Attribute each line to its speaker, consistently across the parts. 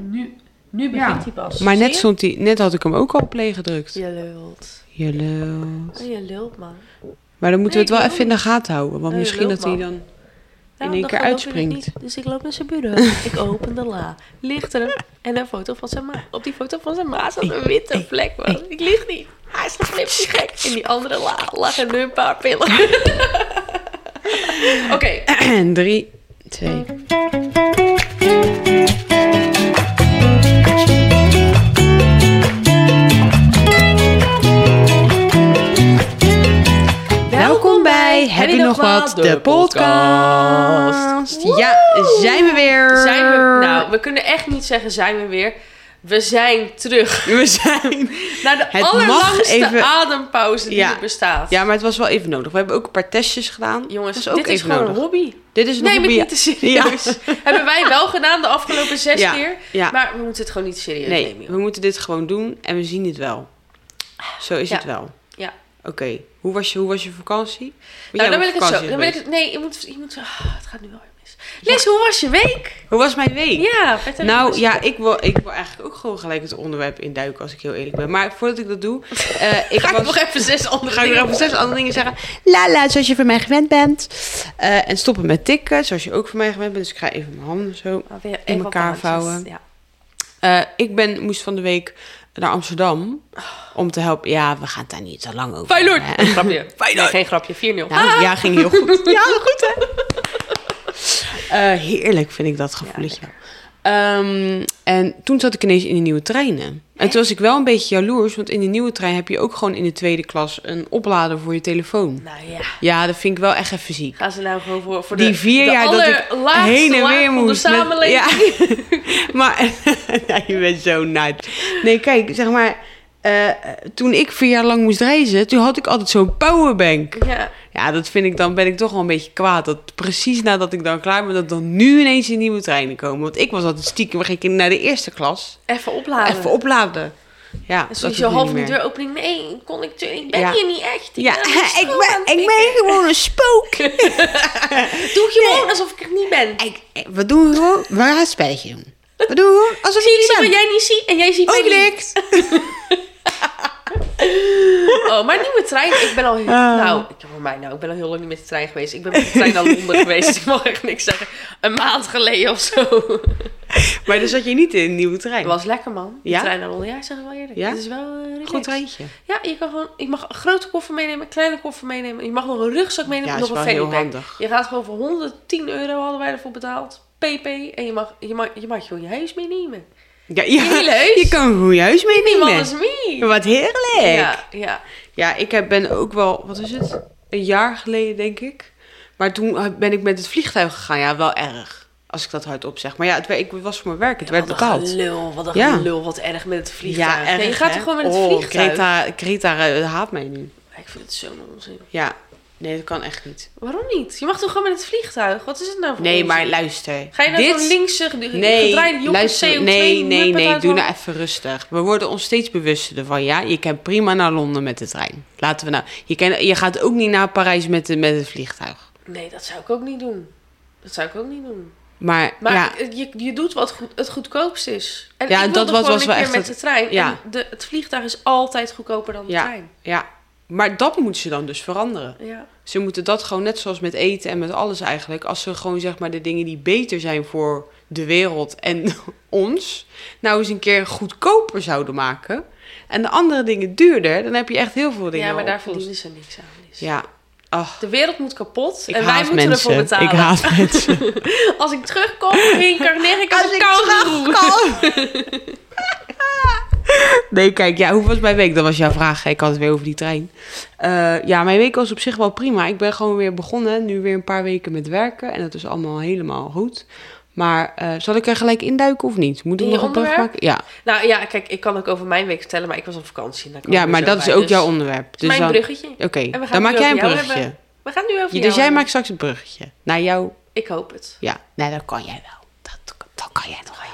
Speaker 1: Nu, nu
Speaker 2: Ja.
Speaker 1: begint hij pas.
Speaker 3: Maar net,
Speaker 1: Zie
Speaker 3: stond die, net had ik hem ook al play gedrukt.
Speaker 4: Je lult.
Speaker 3: Je lult.
Speaker 4: Oh, je lult, man.
Speaker 3: Maar dan moeten
Speaker 1: Nee,
Speaker 3: we het
Speaker 1: ik
Speaker 3: wel even in de gaten houden. Want
Speaker 4: Oh, je
Speaker 3: misschien dat hij
Speaker 4: lult,
Speaker 3: dan...
Speaker 4: Nou,
Speaker 3: één
Speaker 4: dan
Speaker 3: keer
Speaker 4: geloof je het
Speaker 3: uitspringt.
Speaker 4: niet. Dus ik loop naar zijn bureau. ik open de la. Ligt er een- en een foto van zijn ma. Op die foto van zijn ma zat een witte vlek, man. Ik lieg niet. Hij is geflipt, die gek. In die andere la lagen nu een paar pillen. Oké,
Speaker 3: Eh, Drie, twee... Welkom bij Heb je nog wat? De podcast. Ja, zijn we weer.
Speaker 4: Zijn we, nou, we kunnen echt niet zeggen zijn we weer. We zijn terug
Speaker 3: We zijn.
Speaker 4: naar de
Speaker 3: Het mag
Speaker 4: allerlangste
Speaker 3: even-
Speaker 4: adempauze die
Speaker 3: Ja.
Speaker 4: er bestaat.
Speaker 3: Ja, maar het was wel even nodig. We hebben ook een paar testjes gedaan.
Speaker 4: Jongens,
Speaker 3: Dat was ook
Speaker 4: dit is
Speaker 3: even
Speaker 4: gewoon
Speaker 3: nodig.
Speaker 4: een hobby.
Speaker 3: Dit is een
Speaker 4: Neem het
Speaker 3: hobby.
Speaker 4: niet te serieus. Hebben wij wel gedaan de afgelopen zes
Speaker 3: Ja,
Speaker 4: keer.
Speaker 3: ja.
Speaker 4: Maar we moeten het gewoon niet serieus
Speaker 3: Nee,
Speaker 4: nemen. joh.
Speaker 3: we moeten dit gewoon doen en we zien het wel. Zo is
Speaker 4: Ja.
Speaker 3: het wel.
Speaker 4: Ja.
Speaker 3: Oké, hoe, was je, hoe was je vakantie? Want jij
Speaker 4: Nou, dan wil
Speaker 3: bent
Speaker 4: ik het
Speaker 3: vakantie
Speaker 4: zo. Dan wil ik
Speaker 3: geweest.
Speaker 4: het, nee, je moet, je moet, ah, het gaat nu wel weer mis. Les, hoe was je week?
Speaker 3: Hoe was mijn week?
Speaker 4: Ja, vertel
Speaker 3: Nou
Speaker 4: eens.
Speaker 3: ja, ik wil, ik wil eigenlijk ook gewoon gelijk het onderwerp induiken, als ik heel eerlijk ben. Maar voordat ik dat doe, eh, ik
Speaker 4: Ga ik
Speaker 3: was...
Speaker 4: nog even zes andere
Speaker 3: ga ik nog
Speaker 4: dingen
Speaker 3: even zes andere dingen zeggen. Lala, zoals je van mij gewend bent. Eh, en stoppen met tikken, zoals je ook van mij gewend bent. Dus ik ga even mijn handen zo
Speaker 4: Ah, weer
Speaker 3: in
Speaker 4: even op de
Speaker 3: elkaar
Speaker 4: handjes.
Speaker 3: vouwen.
Speaker 4: Ja.
Speaker 3: Eh, ik ben, moest van de week naar Amsterdam om te helpen. Ja, we gaan het daar niet te lang over.
Speaker 4: Feyenoord!
Speaker 3: hebben, hè.
Speaker 4: Grapje. Feyenoord. geen grapje. 4-0.
Speaker 3: Ja, ja, ging heel goed. Ja, goed hè? Eh, heerlijk vind ik dat gevoeletje. wel. Ehm, en toen zat ik ineens in de nieuwe treinen. En toen was ik wel een beetje jaloers, want in de nieuwe trein heb je ook gewoon in de tweede klas een oplader voor je telefoon.
Speaker 4: Nou ja.
Speaker 3: Ja, dat vind ik wel echt even ziek.
Speaker 4: Gaan ze nou gewoon voor, voor
Speaker 3: Die
Speaker 4: de,
Speaker 3: vier
Speaker 4: de
Speaker 3: jaar dat ik
Speaker 4: allerlaagste
Speaker 3: heen en
Speaker 4: laag
Speaker 3: weer
Speaker 4: van
Speaker 3: moest.
Speaker 4: de
Speaker 3: met-
Speaker 4: samenleving.
Speaker 3: ja. maar ja, je bent zo nat. Nee, kijk, zeg maar. eh, toen ik vier jaar lang moest reizen, toen had ik altijd zo'n powerbank.
Speaker 4: ja.
Speaker 3: Ja, dat vind ik dan, ben ik toch wel een beetje kwaad. Dat precies nadat ik dan klaar ben, dat dan nu ineens een nieuwe treinen komen. Want ik was altijd stiekem, ging ik naar de eerste klas.
Speaker 4: Even opladen.
Speaker 3: Even opladen. Ja,
Speaker 4: En
Speaker 3: dat
Speaker 4: zo
Speaker 3: doe
Speaker 4: zo
Speaker 3: ik nu
Speaker 4: half
Speaker 3: niet
Speaker 4: in de
Speaker 3: meer.
Speaker 4: deuropening. Nee, kon ik, ik ben
Speaker 3: Ja.
Speaker 4: hier niet echt. aan
Speaker 3: Ja,
Speaker 4: de
Speaker 3: ik
Speaker 4: school aan het
Speaker 3: ben, ik ben gewoon een spook.
Speaker 4: Doe gewoon alsof ik het niet ben.
Speaker 3: Ik, ik- we doen gewoon, we gaan het spelletje doen. We doen gewoon alsof
Speaker 4: Zie, ik
Speaker 3: je
Speaker 4: zie wat
Speaker 3: niet bent.
Speaker 4: jij niet ziet en jij ziet mij
Speaker 3: Ook
Speaker 4: niet.
Speaker 3: niks.
Speaker 4: Oh, maar nieuwe trein. Ik ben al heel...
Speaker 3: Ah.
Speaker 4: Nou, ik, voor mij nou, ik ben al heel lang niet met de trein geweest. Ik ben met de trein naar Londen geweest. Dus ik mag echt niks zeggen. Een maand geleden of zo.
Speaker 3: Maar dan zat je niet in een nieuwe
Speaker 4: Het
Speaker 3: trein.
Speaker 4: was lekker, man. Die
Speaker 3: Ja?
Speaker 4: trein naar Londen. Ja, ik zeg het wel eerlijk.
Speaker 3: Ja?
Speaker 4: Het is wel eh, relaxed.
Speaker 3: Goed treintje.
Speaker 4: Ja, je kan gewoon... Ik mag een grote koffer meenemen, een kleine koffer meenemen. Je mag nog een rugzak meenemen,
Speaker 3: Ja,
Speaker 4: en
Speaker 3: is
Speaker 4: nog een
Speaker 3: wel heel
Speaker 4: fannypack.
Speaker 3: handig.
Speaker 4: Je gaat gewoon voor 110 euro hadden wij ervoor betaald. PP. En je mag, je mag, je mag gewoon je huis meenemen.
Speaker 3: Ja, ja,
Speaker 4: Heel leuk.
Speaker 3: je kan gewoon juist
Speaker 4: Niemand
Speaker 3: meenemen.
Speaker 4: is mee.
Speaker 3: Wat heerlijk.
Speaker 4: Ja, ja.
Speaker 3: Ja, ik heb, ben ook wel, wat is het? Een jaar geleden, denk ik. Maar toen ben ik met het vliegtuig gegaan. Ja, wel erg. Als ik dat hardop zeg. Maar ja, het, wer- ik was voor mijn werk. Het werd
Speaker 4: wat
Speaker 3: betaald.
Speaker 4: een lul, wat een
Speaker 3: Ja.
Speaker 4: lul, wat erg met het vliegtuig. Nee, je gaat
Speaker 3: hè?
Speaker 4: er gewoon met het
Speaker 3: oh,
Speaker 4: vliegtuig.
Speaker 3: Greta, Greta eh, haat mij nu.
Speaker 4: Ik vind het zo'n onzin.
Speaker 3: Ja, nee, dat kan echt niet.
Speaker 4: Waarom niet? Je mag toch gewoon met het vliegtuig? Wat is het nou voor
Speaker 3: Nee,
Speaker 4: onzin?
Speaker 3: maar luister.
Speaker 4: Ga je nou
Speaker 3: Dit-
Speaker 4: zo'n linkse ge-
Speaker 3: Nee,
Speaker 4: gedraaide joppe
Speaker 3: luister,
Speaker 4: CO2
Speaker 3: nee, nee,
Speaker 4: muppet
Speaker 3: nee,
Speaker 4: uit
Speaker 3: doe
Speaker 4: de-
Speaker 3: nou even rustig. We worden ons steeds bewuster ervan. Ja, je kan prima naar Londen met de trein. Laten we nou. Je, kan, je gaat ook niet naar Parijs met, de, met het vliegtuig.
Speaker 4: Nee, dat zou ik ook niet doen. Dat zou ik ook niet doen.
Speaker 3: Maar,
Speaker 4: Maar
Speaker 3: ja,
Speaker 4: je, je doet wat goed, het goedkoopst is. En
Speaker 3: Ja,
Speaker 4: ik
Speaker 3: dat
Speaker 4: wilde
Speaker 3: was-
Speaker 4: gewoon
Speaker 3: was
Speaker 4: een
Speaker 3: wel
Speaker 4: keer
Speaker 3: echt
Speaker 4: met
Speaker 3: het-
Speaker 4: de trein.
Speaker 3: ja.
Speaker 4: En de, het vliegtuig is altijd goedkoper dan de
Speaker 3: Ja.
Speaker 4: trein.
Speaker 3: ja. Maar dat moeten ze dan dus veranderen.
Speaker 4: Ja.
Speaker 3: Ze moeten dat gewoon net zoals met eten en met alles eigenlijk. Als ze gewoon zeg maar de dingen die beter zijn voor de wereld en ons. Nou eens een keer goedkoper zouden maken. En de andere dingen duurder. Dan heb je echt heel veel dingen.
Speaker 4: ja, maar daar
Speaker 3: opgelost.
Speaker 4: verdienen ze niks aan. Dus.
Speaker 3: Ja. Ach,
Speaker 4: De wereld moet kapot
Speaker 3: ik
Speaker 4: en wij
Speaker 3: haat
Speaker 4: moeten
Speaker 3: mensen.
Speaker 4: ervoor betalen.
Speaker 3: Ik haat mensen.
Speaker 4: Als ik terugkom, reïncarneer ik als, een kangoeroe.
Speaker 3: Nee, kijk, ja, hoe was mijn week? Dat was jouw vraag. hè? Ik had het weer over die trein. Eh, ja, mijn week was op zich wel prima. Ik ben gewoon weer begonnen. Nu weer een paar weken met werken. En dat is allemaal helemaal goed. Maar eh, zal ik er gelijk induiken of niet? Moet ik
Speaker 4: In je
Speaker 3: nog een brug
Speaker 4: onderwerp?
Speaker 3: maken? Ja,
Speaker 4: Nou ja, kijk, ik kan ook over mijn week vertellen, maar ik was op vakantie. en daar kwam
Speaker 3: ja
Speaker 4: ik
Speaker 3: maar
Speaker 4: er zo
Speaker 3: dat is
Speaker 4: bij.
Speaker 3: ook
Speaker 4: Dus
Speaker 3: jouw onderwerp. Dus
Speaker 4: mijn
Speaker 3: dan,
Speaker 4: bruggetje.
Speaker 3: Oké,
Speaker 4: we gaan
Speaker 3: dan
Speaker 4: het
Speaker 3: maak jij een
Speaker 4: nu over jou
Speaker 3: bruggetje.
Speaker 4: hebben. We gaan nu over
Speaker 3: Ja,
Speaker 4: jou
Speaker 3: dus jij
Speaker 4: hebben.
Speaker 3: maakt straks een bruggetje. Naar jou.
Speaker 4: Ik hoop het.
Speaker 3: Ja, nee, dat kan jij wel. Dat, dat kan jij toch wel.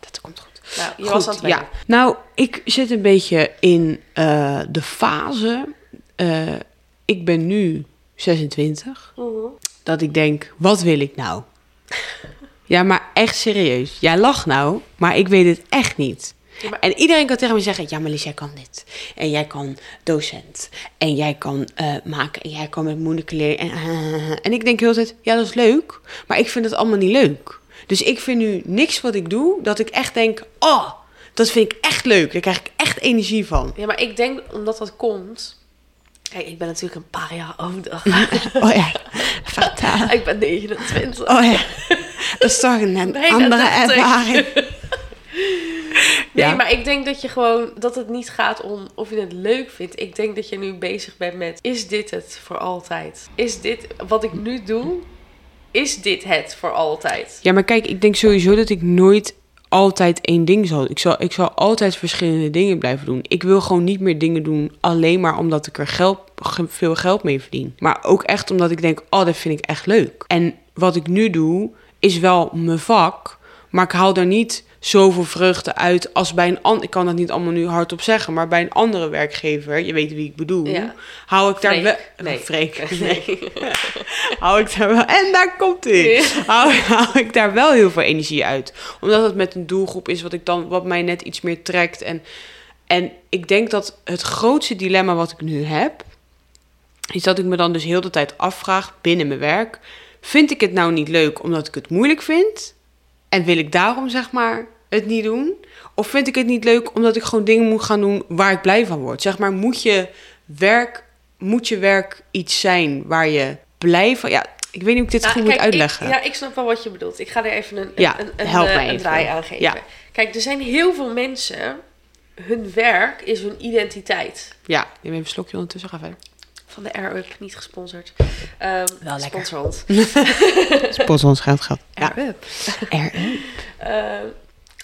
Speaker 3: Dat komt goed.
Speaker 4: Nou, je
Speaker 3: Goed,
Speaker 4: was aan het
Speaker 3: ja.
Speaker 4: werk.
Speaker 3: Nou, ik zit een beetje in eh, de fase. eh, ik ben nu 26.
Speaker 4: Mhm.
Speaker 3: Dat ik denk, wat wil ik nou? Ja, maar echt serieus. Jij lacht nou, maar ik weet het echt niet.
Speaker 4: Ja, maar-
Speaker 3: En iedereen kan tegen me zeggen: Ja, maar Lies, jij kan dit. En jij kan docent. En jij kan eh, maken. En jij kan met moeilijke leren. En, eh, en ik denk heel de tijd: Ja, dat is leuk. Maar ik vind het allemaal niet leuk. Dus ik vind nu niks wat ik doe dat ik echt denk: Oh, dat vind ik echt leuk. Daar krijg ik echt energie van.
Speaker 4: Ja, maar ik denk omdat dat komt. Kijk, ik ben natuurlijk een paar jaar ouder.
Speaker 3: Oh ja, fataal.
Speaker 4: ik ben 29.
Speaker 3: Oh ja, dat is toch een
Speaker 4: Nee, dat
Speaker 3: andere
Speaker 4: dacht ik.
Speaker 3: ervaring.
Speaker 4: Nee,
Speaker 3: Ja.
Speaker 4: maar ik denk dat je gewoon dat het niet gaat om of je het leuk vindt. Ik denk dat je nu bezig bent met is dit het voor altijd? Is dit wat ik nu doe? Is dit het voor altijd?
Speaker 3: Ja, maar kijk, ik denk sowieso dat ik nooit altijd één ding zal. Ik zal, ik zal altijd verschillende dingen blijven doen. Ik wil gewoon niet meer dingen doen alleen maar omdat ik er geld, ge- veel geld mee verdien. Maar ook echt omdat ik denk, oh, dat vind ik echt leuk. En wat ik nu doe, is wel mijn vak, maar ik haal daar niet zoveel vreugde uit als bij een ander. Ik kan dat niet allemaal nu hardop zeggen, maar bij een andere werkgever, je weet wie ik bedoel,
Speaker 4: Ja.
Speaker 3: hou ik daar
Speaker 4: Freek.
Speaker 3: wel.
Speaker 4: Nee.
Speaker 3: Freek. Nee hou ik daar wel. En daar komt ie.
Speaker 4: Ja.
Speaker 3: Hou, hou ik daar wel heel veel energie uit. Omdat het met een doelgroep is wat ik dan wat mij net iets meer trekt. En, en ik denk dat het grootste dilemma wat ik nu heb, is dat ik me dan dus heel de tijd afvraag binnen mijn werk. Vind ik het nou niet leuk omdat ik het moeilijk vind? En wil ik daarom zeg maar het niet doen? Of vind ik het niet leuk omdat ik gewoon dingen moet gaan doen waar ik blij van word? Zeg maar, moet je werk, moet je werk iets zijn waar je blij van... Ja, ik weet niet hoe ik dit
Speaker 4: Nou,
Speaker 3: goed
Speaker 4: kijk,
Speaker 3: moet uitleggen.
Speaker 4: Ik, ja, ik snap wel wat je bedoelt. Ik ga er even een, een,
Speaker 3: Ja,
Speaker 4: een, een,
Speaker 3: help
Speaker 4: eh,
Speaker 3: mij
Speaker 4: een
Speaker 3: even.
Speaker 4: draai aan geven.
Speaker 3: Ja.
Speaker 4: Kijk, er zijn heel veel mensen. Hun werk is hun identiteit.
Speaker 3: Ja, neem even een slokje ondertussen, ga verder.
Speaker 4: Van de Air-Up, niet gesponsord. Ehm,
Speaker 3: Wel lekker.
Speaker 4: Sponsor ons.
Speaker 3: Spot ons geld gehad. Ja,
Speaker 4: Air-Up.
Speaker 3: er.
Speaker 4: Eh,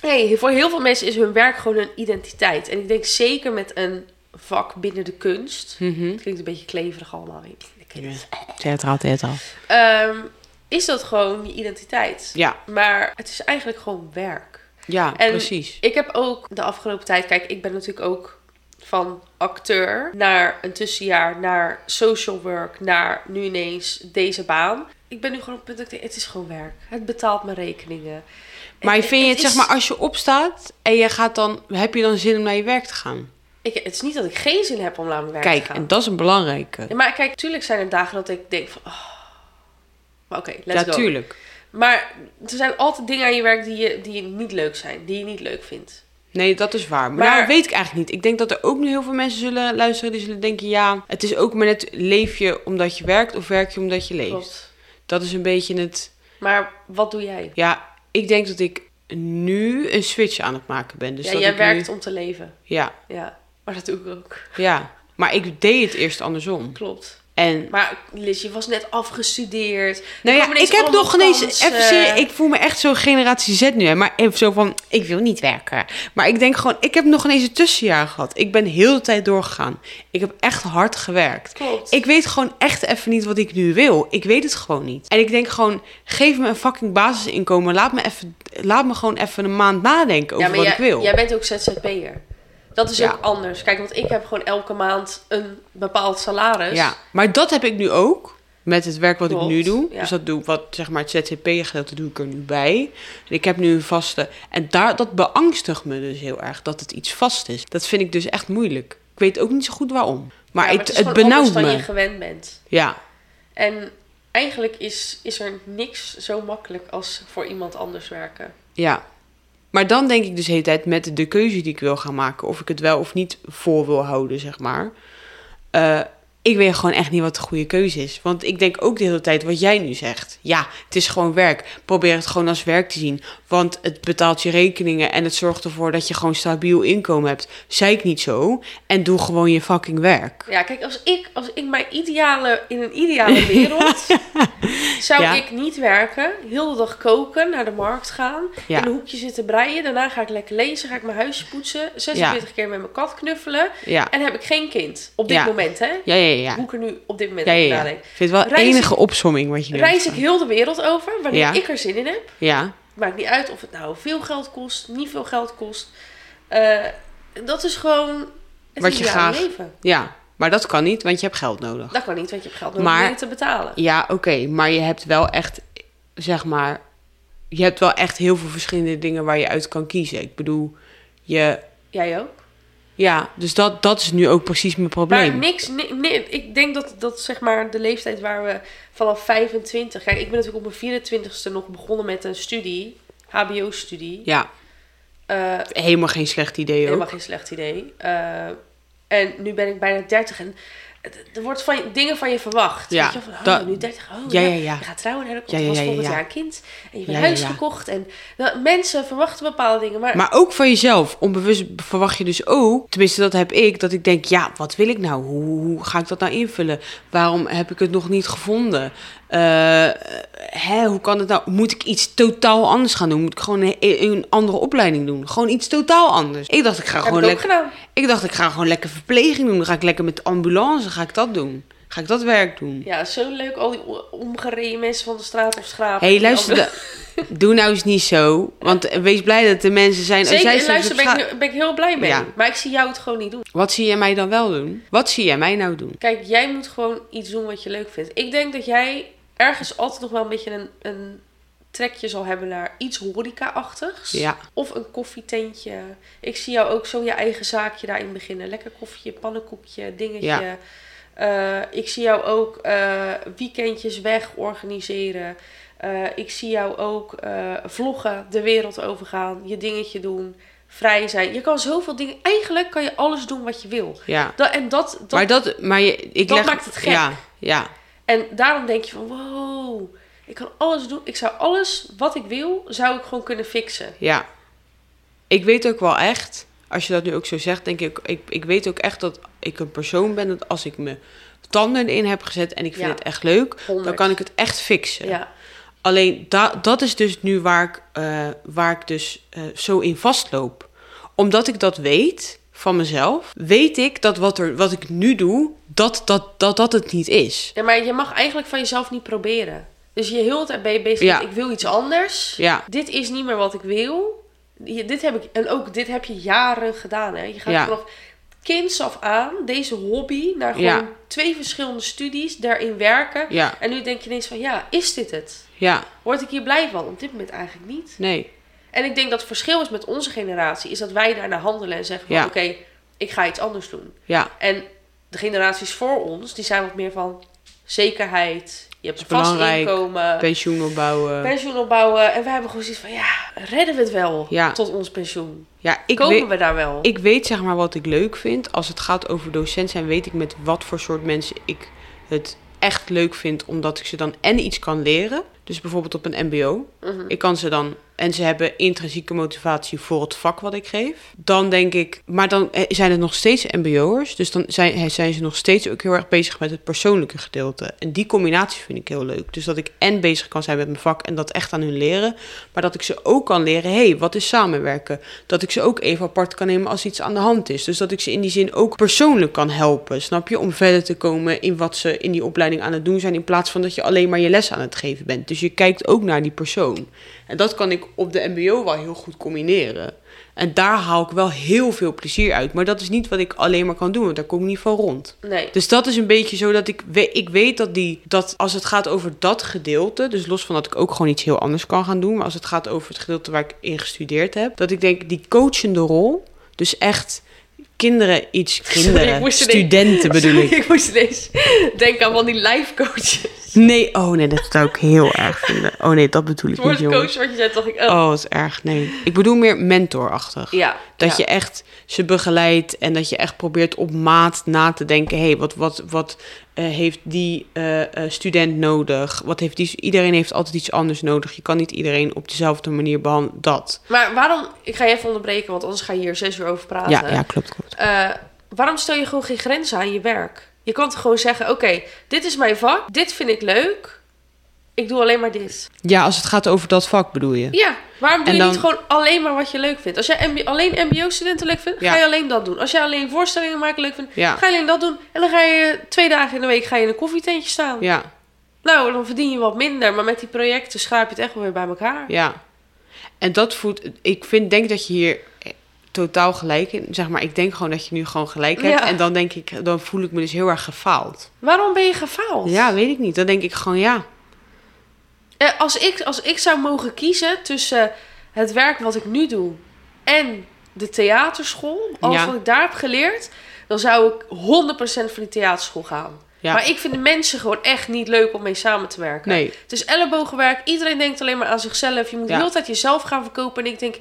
Speaker 4: nee, voor heel veel mensen is hun werk gewoon een identiteit. En ik denk zeker met een vak binnen de
Speaker 3: Hm.
Speaker 4: kunst.
Speaker 3: Mhm.
Speaker 4: Het klinkt een beetje kleverig allemaal. weet je, De kunst.
Speaker 3: Theatraal, theatraal.
Speaker 4: Ehm, is dat gewoon je identiteit?
Speaker 3: Ja,
Speaker 4: Maar het is eigenlijk gewoon werk.
Speaker 3: ja,
Speaker 4: En
Speaker 3: precies.
Speaker 4: Ik heb ook de afgelopen tijd, kijk, ik ben natuurlijk ook van acteur naar een tussenjaar, naar social work, naar nu ineens deze baan. Ik ben nu gewoon op het punt dat ik denk, het is gewoon werk. Het betaalt mijn rekeningen.
Speaker 3: Maar vind je het, zeg
Speaker 4: is-
Speaker 3: maar, als je opstaat en je gaat dan, heb je dan zin om naar je werk te gaan?
Speaker 4: Ik, het is niet dat ik geen zin heb om naar mijn werk te
Speaker 3: Kijk,
Speaker 4: gaan.
Speaker 3: en dat is een belangrijke.
Speaker 4: Ja, maar kijk, tuurlijk zijn er dagen dat ik denk van... Oh, maar oké, let's
Speaker 3: Ja,
Speaker 4: go.
Speaker 3: tuurlijk.
Speaker 4: Maar er zijn altijd dingen aan je werk die je, die je niet leuk zijn. Die je niet leuk vindt.
Speaker 3: Nee, dat is waar. Maar,
Speaker 4: Maar-
Speaker 3: daar weet ik eigenlijk niet. Ik denk dat er ook nu heel veel mensen zullen luisteren die zullen denken... ja, het is ook maar net leef je omdat je werkt of werk je omdat je leeft.
Speaker 4: Klopt.
Speaker 3: Dat is een beetje het...
Speaker 4: Maar wat doe jij?
Speaker 3: Ja, ik denk dat ik nu een switch aan het maken ben. Dus
Speaker 4: ja,
Speaker 3: dat
Speaker 4: jij
Speaker 3: ik
Speaker 4: werkt
Speaker 3: Nu,
Speaker 4: om te leven.
Speaker 3: ja,
Speaker 4: Ja, maar dat doe ik ook.
Speaker 3: ja. Maar ik deed het eerst andersom.
Speaker 4: Klopt.
Speaker 3: En
Speaker 4: Maar Liz, je was net afgestudeerd.
Speaker 3: Nou
Speaker 4: Kom
Speaker 3: ja,
Speaker 4: ineens eh.
Speaker 3: ik heb
Speaker 4: allemaal
Speaker 3: nog ineens...
Speaker 4: kansen.
Speaker 3: Even serieus, ik voel me echt zo'n generatie Z nu. Hè, maar even zo van, ik wil niet werken. Maar ik denk gewoon, ik heb nog ineens een tussenjaar gehad. Ik ben heel de tijd doorgegaan. Ik heb echt hard gewerkt.
Speaker 4: Klopt.
Speaker 3: Ik weet gewoon echt even niet wat ik nu wil. Ik weet het gewoon niet. En ik denk gewoon, geef me een fucking basisinkomen. Laat me, even, laat me gewoon even een maand nadenken over
Speaker 4: maar
Speaker 3: wat
Speaker 4: jij,
Speaker 3: ik wil.
Speaker 4: Jij bent ook ZZP'er. Dat is
Speaker 3: Ja.
Speaker 4: ook anders. Kijk, want ik heb gewoon elke maand een bepaald salaris.
Speaker 3: Ja, maar dat heb ik nu ook. Met het werk wat ik
Speaker 4: Klopt,
Speaker 3: nu doe.
Speaker 4: ja.
Speaker 3: Dus dat doe ik wat, zeg maar, het ZZP-gedeelte doe ik er nu bij. En ik heb nu een vaste. En daar, dat beangstigt me dus heel erg, dat het iets vast is. Dat vind ik dus echt moeilijk. Ik weet ook niet zo goed waarom. Maar,
Speaker 4: Ja,
Speaker 3: het,
Speaker 4: is
Speaker 3: het,
Speaker 4: gewoon
Speaker 3: benauwt
Speaker 4: anders
Speaker 3: me.
Speaker 4: dan je gewend bent.
Speaker 3: Ja,
Speaker 4: En eigenlijk is, is er niks zo makkelijk als voor iemand anders werken.
Speaker 3: ja. Maar dan denk ik dus de hele tijd met de keuze die ik wil gaan maken. Of ik het wel of niet voor wil houden, zeg maar. Eh, ik weet gewoon echt niet wat de goede keuze is. Want ik denk ook de hele tijd wat jij nu zegt. Ja, het is gewoon werk. Probeer het gewoon als werk te zien. Want het betaalt je rekeningen en het zorgt ervoor dat je gewoon stabiel inkomen hebt. Zei ik niet zo. En doe gewoon je fucking werk.
Speaker 4: Ja, kijk, als ik, als ik mijn ideale, in een ideale wereld, zou
Speaker 3: Ja.
Speaker 4: ik niet werken, heel de dag koken, naar de markt gaan,
Speaker 3: Ja.
Speaker 4: in een hoekje zitten breien, daarna ga ik lekker lezen, ga ik mijn huisje poetsen, 46 keer met mijn kat knuffelen
Speaker 3: Ja,
Speaker 4: en heb ik geen kind. Op dit
Speaker 3: Ja.
Speaker 4: moment, hè?
Speaker 3: ja, ja, ja.
Speaker 4: Hoe ik er nu op dit moment
Speaker 3: Ja, ja,
Speaker 4: over
Speaker 3: ja.
Speaker 4: nadenk.
Speaker 3: Ik vind het wel
Speaker 4: Reis ik-
Speaker 3: enige opsomming wat je nu
Speaker 4: Reis ik
Speaker 3: hebt
Speaker 4: heel de wereld over, wanneer
Speaker 3: Ja.
Speaker 4: ik er zin in heb.
Speaker 3: gedaan. Ja,
Speaker 4: Maakt niet uit of het nou veel geld kost, niet veel geld kost. Eh, dat is gewoon het
Speaker 3: Wat je
Speaker 4: ideale
Speaker 3: graag-
Speaker 4: leven.
Speaker 3: ja. Maar dat kan niet, want je hebt geld nodig.
Speaker 4: Dat kan niet, want je hebt geld nodig
Speaker 3: Maar-
Speaker 4: om dit te betalen.
Speaker 3: Ja, oké, maar je hebt wel echt, zeg maar, je hebt wel echt heel veel verschillende dingen waar je uit kan kiezen. Ik bedoel, je,
Speaker 4: Jij ook?
Speaker 3: ja, dus dat, dat is nu ook precies mijn probleem.
Speaker 4: Maar niks, ni- ni- ik denk dat, dat zeg maar de leeftijd waar we vanaf 25, kijk, ik ben natuurlijk op mijn 24ste nog begonnen met een studie, HBO-studie.
Speaker 3: Ja,
Speaker 4: Eh,
Speaker 3: helemaal geen slecht idee ook.
Speaker 4: helemaal geen slecht idee. Eh, en nu ben ik bijna 30 en het- er wordt van je- dingen van je verwacht.
Speaker 3: Ja,
Speaker 4: Weet je, van, oh,
Speaker 3: dat-
Speaker 4: nu 30, oh
Speaker 3: Ja,
Speaker 4: ja,
Speaker 3: ja, ja.
Speaker 4: je gaat trouwen en dan komt
Speaker 3: Ja,
Speaker 4: er
Speaker 3: ja,
Speaker 4: pas
Speaker 3: ja, ja,
Speaker 4: volgend
Speaker 3: ja.
Speaker 4: jaar een kind en je bent
Speaker 3: Ja, ja,
Speaker 4: huis
Speaker 3: ja.
Speaker 4: gekocht en nou, mensen verwachten bepaalde dingen, maar,
Speaker 3: Maar ook van jezelf. Onbewust verwacht je dus ook, tenminste dat heb ik, dat ik denk, ja, wat wil ik nou? Hoe, hoe ga ik dat nou invullen? Waarom heb ik het nog niet gevonden? Eh, hè, hoe kan het nou? Moet ik iets totaal anders gaan doen? Moet ik gewoon een, een andere opleiding doen? Gewoon iets totaal anders. Ik dacht, ik ga
Speaker 4: heb ik
Speaker 3: gewoon
Speaker 4: ook
Speaker 3: lekker.
Speaker 4: gedaan.
Speaker 3: Ik dacht, ik ga gewoon lekker verpleging doen. Dan ga ik lekker met de ambulance, ga ik dat doen. Ga ik dat werk doen.
Speaker 4: Ja, zo leuk, al die o- omgereden mensen van de straat of schraap.
Speaker 3: Hé, hey, luister, da- doe nou eens niet zo. Want wees blij dat de mensen zijn...
Speaker 4: Zeker,
Speaker 3: zij
Speaker 4: en
Speaker 3: staan
Speaker 4: luister,
Speaker 3: op
Speaker 4: ben
Speaker 3: scha-
Speaker 4: ik, ben ik heel blij mee.
Speaker 3: Ja.
Speaker 4: Maar ik zie jou het gewoon niet doen.
Speaker 3: Wat zie jij mij dan wel doen? Wat zie jij mij nou doen?
Speaker 4: Kijk, jij moet gewoon iets doen wat je leuk vindt. Ik denk dat jij ergens altijd nog wel een beetje een, een trekje zal hebben naar iets horeca-achtigs.
Speaker 3: Ja.
Speaker 4: Of een koffietentje. Ik zie jou ook zo je eigen zaakje daarin beginnen. Lekker koffietje, pannenkoekje, dingetje.
Speaker 3: Ja.
Speaker 4: Eh, ik zie jou ook eh, weekendjes weg organiseren. Eh, ik zie jou ook eh, vloggen, de wereld overgaan, je dingetje doen, vrij zijn. Je kan zoveel dingen. Eigenlijk kan je alles doen wat je wil.
Speaker 3: Ja.
Speaker 4: Dat, en dat, dat
Speaker 3: maar dat, maar je, ik
Speaker 4: dat
Speaker 3: leg,
Speaker 4: maakt het gek.
Speaker 3: Ja, ja,
Speaker 4: en daarom denk je van, wow, ik kan alles doen. Ik zou alles wat ik wil, zou ik gewoon kunnen fixen.
Speaker 3: ja. Ik weet ook wel echt, als je dat nu ook zo zegt, denk ik, ik, ik weet ook echt dat ik een persoon ben dat als ik me tanden in heb gezet en ik vind
Speaker 4: Ja.
Speaker 3: het echt leuk, dan
Speaker 4: Honderd.
Speaker 3: kan ik het echt fixen.
Speaker 4: Ja,
Speaker 3: Alleen da- dat is dus nu waar ik, eh, waar ik dus eh, zo in vastloop. Omdat ik dat weet van mezelf, weet ik dat wat, er, wat ik nu doe, dat dat, dat dat het niet is.
Speaker 4: ja. Maar je mag eigenlijk van jezelf niet proberen. Dus je heel de tijd ben je bezig
Speaker 3: Ja.
Speaker 4: met, ik wil iets anders.
Speaker 3: Ja.
Speaker 4: Dit is niet meer wat ik wil. Je- dit heb ik, en ook dit heb je jaren gedaan. Hè? Je gaat
Speaker 3: Ja.
Speaker 4: vanaf kinds af aan, deze hobby, naar gewoon
Speaker 3: Ja.
Speaker 4: twee verschillende studies, daarin werken.
Speaker 3: Ja,
Speaker 4: En nu denk je ineens van, ja, is dit het?
Speaker 3: ja,
Speaker 4: Word ik hier blij van? Op dit moment eigenlijk niet.
Speaker 3: nee,
Speaker 4: En ik denk dat het verschil is met onze generatie, is dat wij daarna handelen en zeggen van
Speaker 3: Ja.
Speaker 4: oké, ik ga iets anders doen.
Speaker 3: ja.
Speaker 4: En de generaties voor ons, die zijn wat meer van zekerheid, je hebt een
Speaker 3: Is
Speaker 4: vast
Speaker 3: belangrijk.
Speaker 4: inkomen,
Speaker 3: pensioen opbouwen.
Speaker 4: pensioen opbouwen. En wij hebben gewoon zoiets van ja, redden we het wel
Speaker 3: Ja.
Speaker 4: tot ons pensioen?
Speaker 3: Ja, ik
Speaker 4: Komen
Speaker 3: weet,
Speaker 4: we daar wel?
Speaker 3: ik weet zeg maar wat ik leuk vind. Als het gaat over docent zijn, weet ik met wat voor soort mensen ik het echt leuk vind. Omdat ik ze dan en iets kan leren. Dus bijvoorbeeld op een mbo.
Speaker 4: Mhm.
Speaker 3: Ik kan ze dan... En ze hebben intrinsieke motivatie voor het vak wat ik geef. Dan denk ik... Maar dan eh, zijn het nog steeds mbo'ers. Dus dan zijn, eh, zijn ze nog steeds ook heel erg bezig met het persoonlijke gedeelte. En die combinatie vind ik heel leuk. Dus dat ik en bezig kan zijn met mijn vak en dat echt aan hun leren. Maar dat ik ze ook kan leren... Hé, hey, wat is samenwerken? Dat ik ze ook even apart kan nemen als iets aan de hand is. Dus dat ik ze in die zin ook persoonlijk kan helpen. Snap je? Om verder te komen in wat ze in die opleiding aan het doen zijn. In plaats van dat je alleen maar je les aan het geven bent. Dus je kijkt ook naar die persoon. En dat kan ik op de MBO wel heel goed combineren. En daar haal ik wel heel veel plezier uit. Maar dat is niet wat ik alleen maar kan doen, want daar kom ik niet van rond.
Speaker 4: Nee.
Speaker 3: Dus dat is een beetje zo dat ik, we- ik weet dat, die, dat als het gaat over dat gedeelte, dus los van dat ik ook gewoon iets heel anders kan gaan doen, maar als het gaat over het gedeelte waar ik in gestudeerd heb, dat ik denk die coachende rol, dus echt kinderen iets,
Speaker 4: ik
Speaker 3: kinderen,
Speaker 4: moest er denken.
Speaker 3: studenten bedoel ik.
Speaker 4: ik moest ineens denken aan van die life coaches.
Speaker 3: Nee, oh nee, dat zou ik heel erg vinden. Oh nee, dat bedoel ik
Speaker 4: Het
Speaker 3: niet,
Speaker 4: woord coach
Speaker 3: jongens.
Speaker 4: wat je zei, dacht ik, oh.
Speaker 3: Oh, dat is erg, nee. Ik bedoel meer mentorachtig.
Speaker 4: Ja.
Speaker 3: Oh, Dat
Speaker 4: ja.
Speaker 3: je echt ze begeleidt en dat je echt probeert op maat na te denken. Hé, hey, wat, wat, wat eh, heeft die eh, eh, student nodig? Wat heeft die, iedereen heeft altijd iets anders nodig. Je kan niet iedereen op dezelfde manier behandelen. Dat.
Speaker 4: Maar waarom, ik ga je even onderbreken, want anders ga je hier zes uur over praten.
Speaker 3: Ja, ja, klopt, klopt.
Speaker 4: Eh, waarom stel je gewoon geen grenzen aan je werk? Je kan toch gewoon zeggen: Oké, dit is mijn vak, dit vind ik leuk, ik doe alleen maar dit.
Speaker 3: Ja, als het gaat over dat vak bedoel je?
Speaker 4: Ja, waarom doe
Speaker 3: En
Speaker 4: je
Speaker 3: dan-
Speaker 4: niet gewoon alleen maar wat je leuk vindt? Als jij MB alleen MBO-studenten leuk vindt,
Speaker 3: Ja.
Speaker 4: ga je alleen dat doen. Als jij alleen voorstellingen maken leuk vindt,
Speaker 3: Ja.
Speaker 4: ga je alleen dat doen. En dan ga je twee dagen in de week ga je in een koffietentje staan.
Speaker 3: Ja,
Speaker 4: Nou, dan verdien je wat minder, maar met die projecten schaap je het echt wel weer bij elkaar.
Speaker 3: ja. En dat voelt... Ik vind, denk dat je hier eh, totaal gelijk in... Zeg maar, ik denk gewoon dat je nu gewoon gelijk hebt.
Speaker 4: Ja.
Speaker 3: En dan denk ik... Dan voel ik me dus heel erg gefaald.
Speaker 4: Waarom ben je gefaald?
Speaker 3: Ja, weet ik niet. Dan denk ik gewoon ja.
Speaker 4: Eh, als, ik, als ik zou mogen kiezen tussen het werk wat ik nu doe en de theaterschool, alles
Speaker 3: Ja.
Speaker 4: wat ik daar heb geleerd, dan zou ik 100% voor die theaterschool gaan.
Speaker 3: Ja.
Speaker 4: Maar ik vind de mensen gewoon echt niet leuk om mee samen te werken.
Speaker 3: Nee.
Speaker 4: Het is ellebogenwerk, iedereen denkt alleen maar aan zichzelf. Je moet
Speaker 3: Ja.
Speaker 4: de hele tijd jezelf gaan verkopen. En ik denk,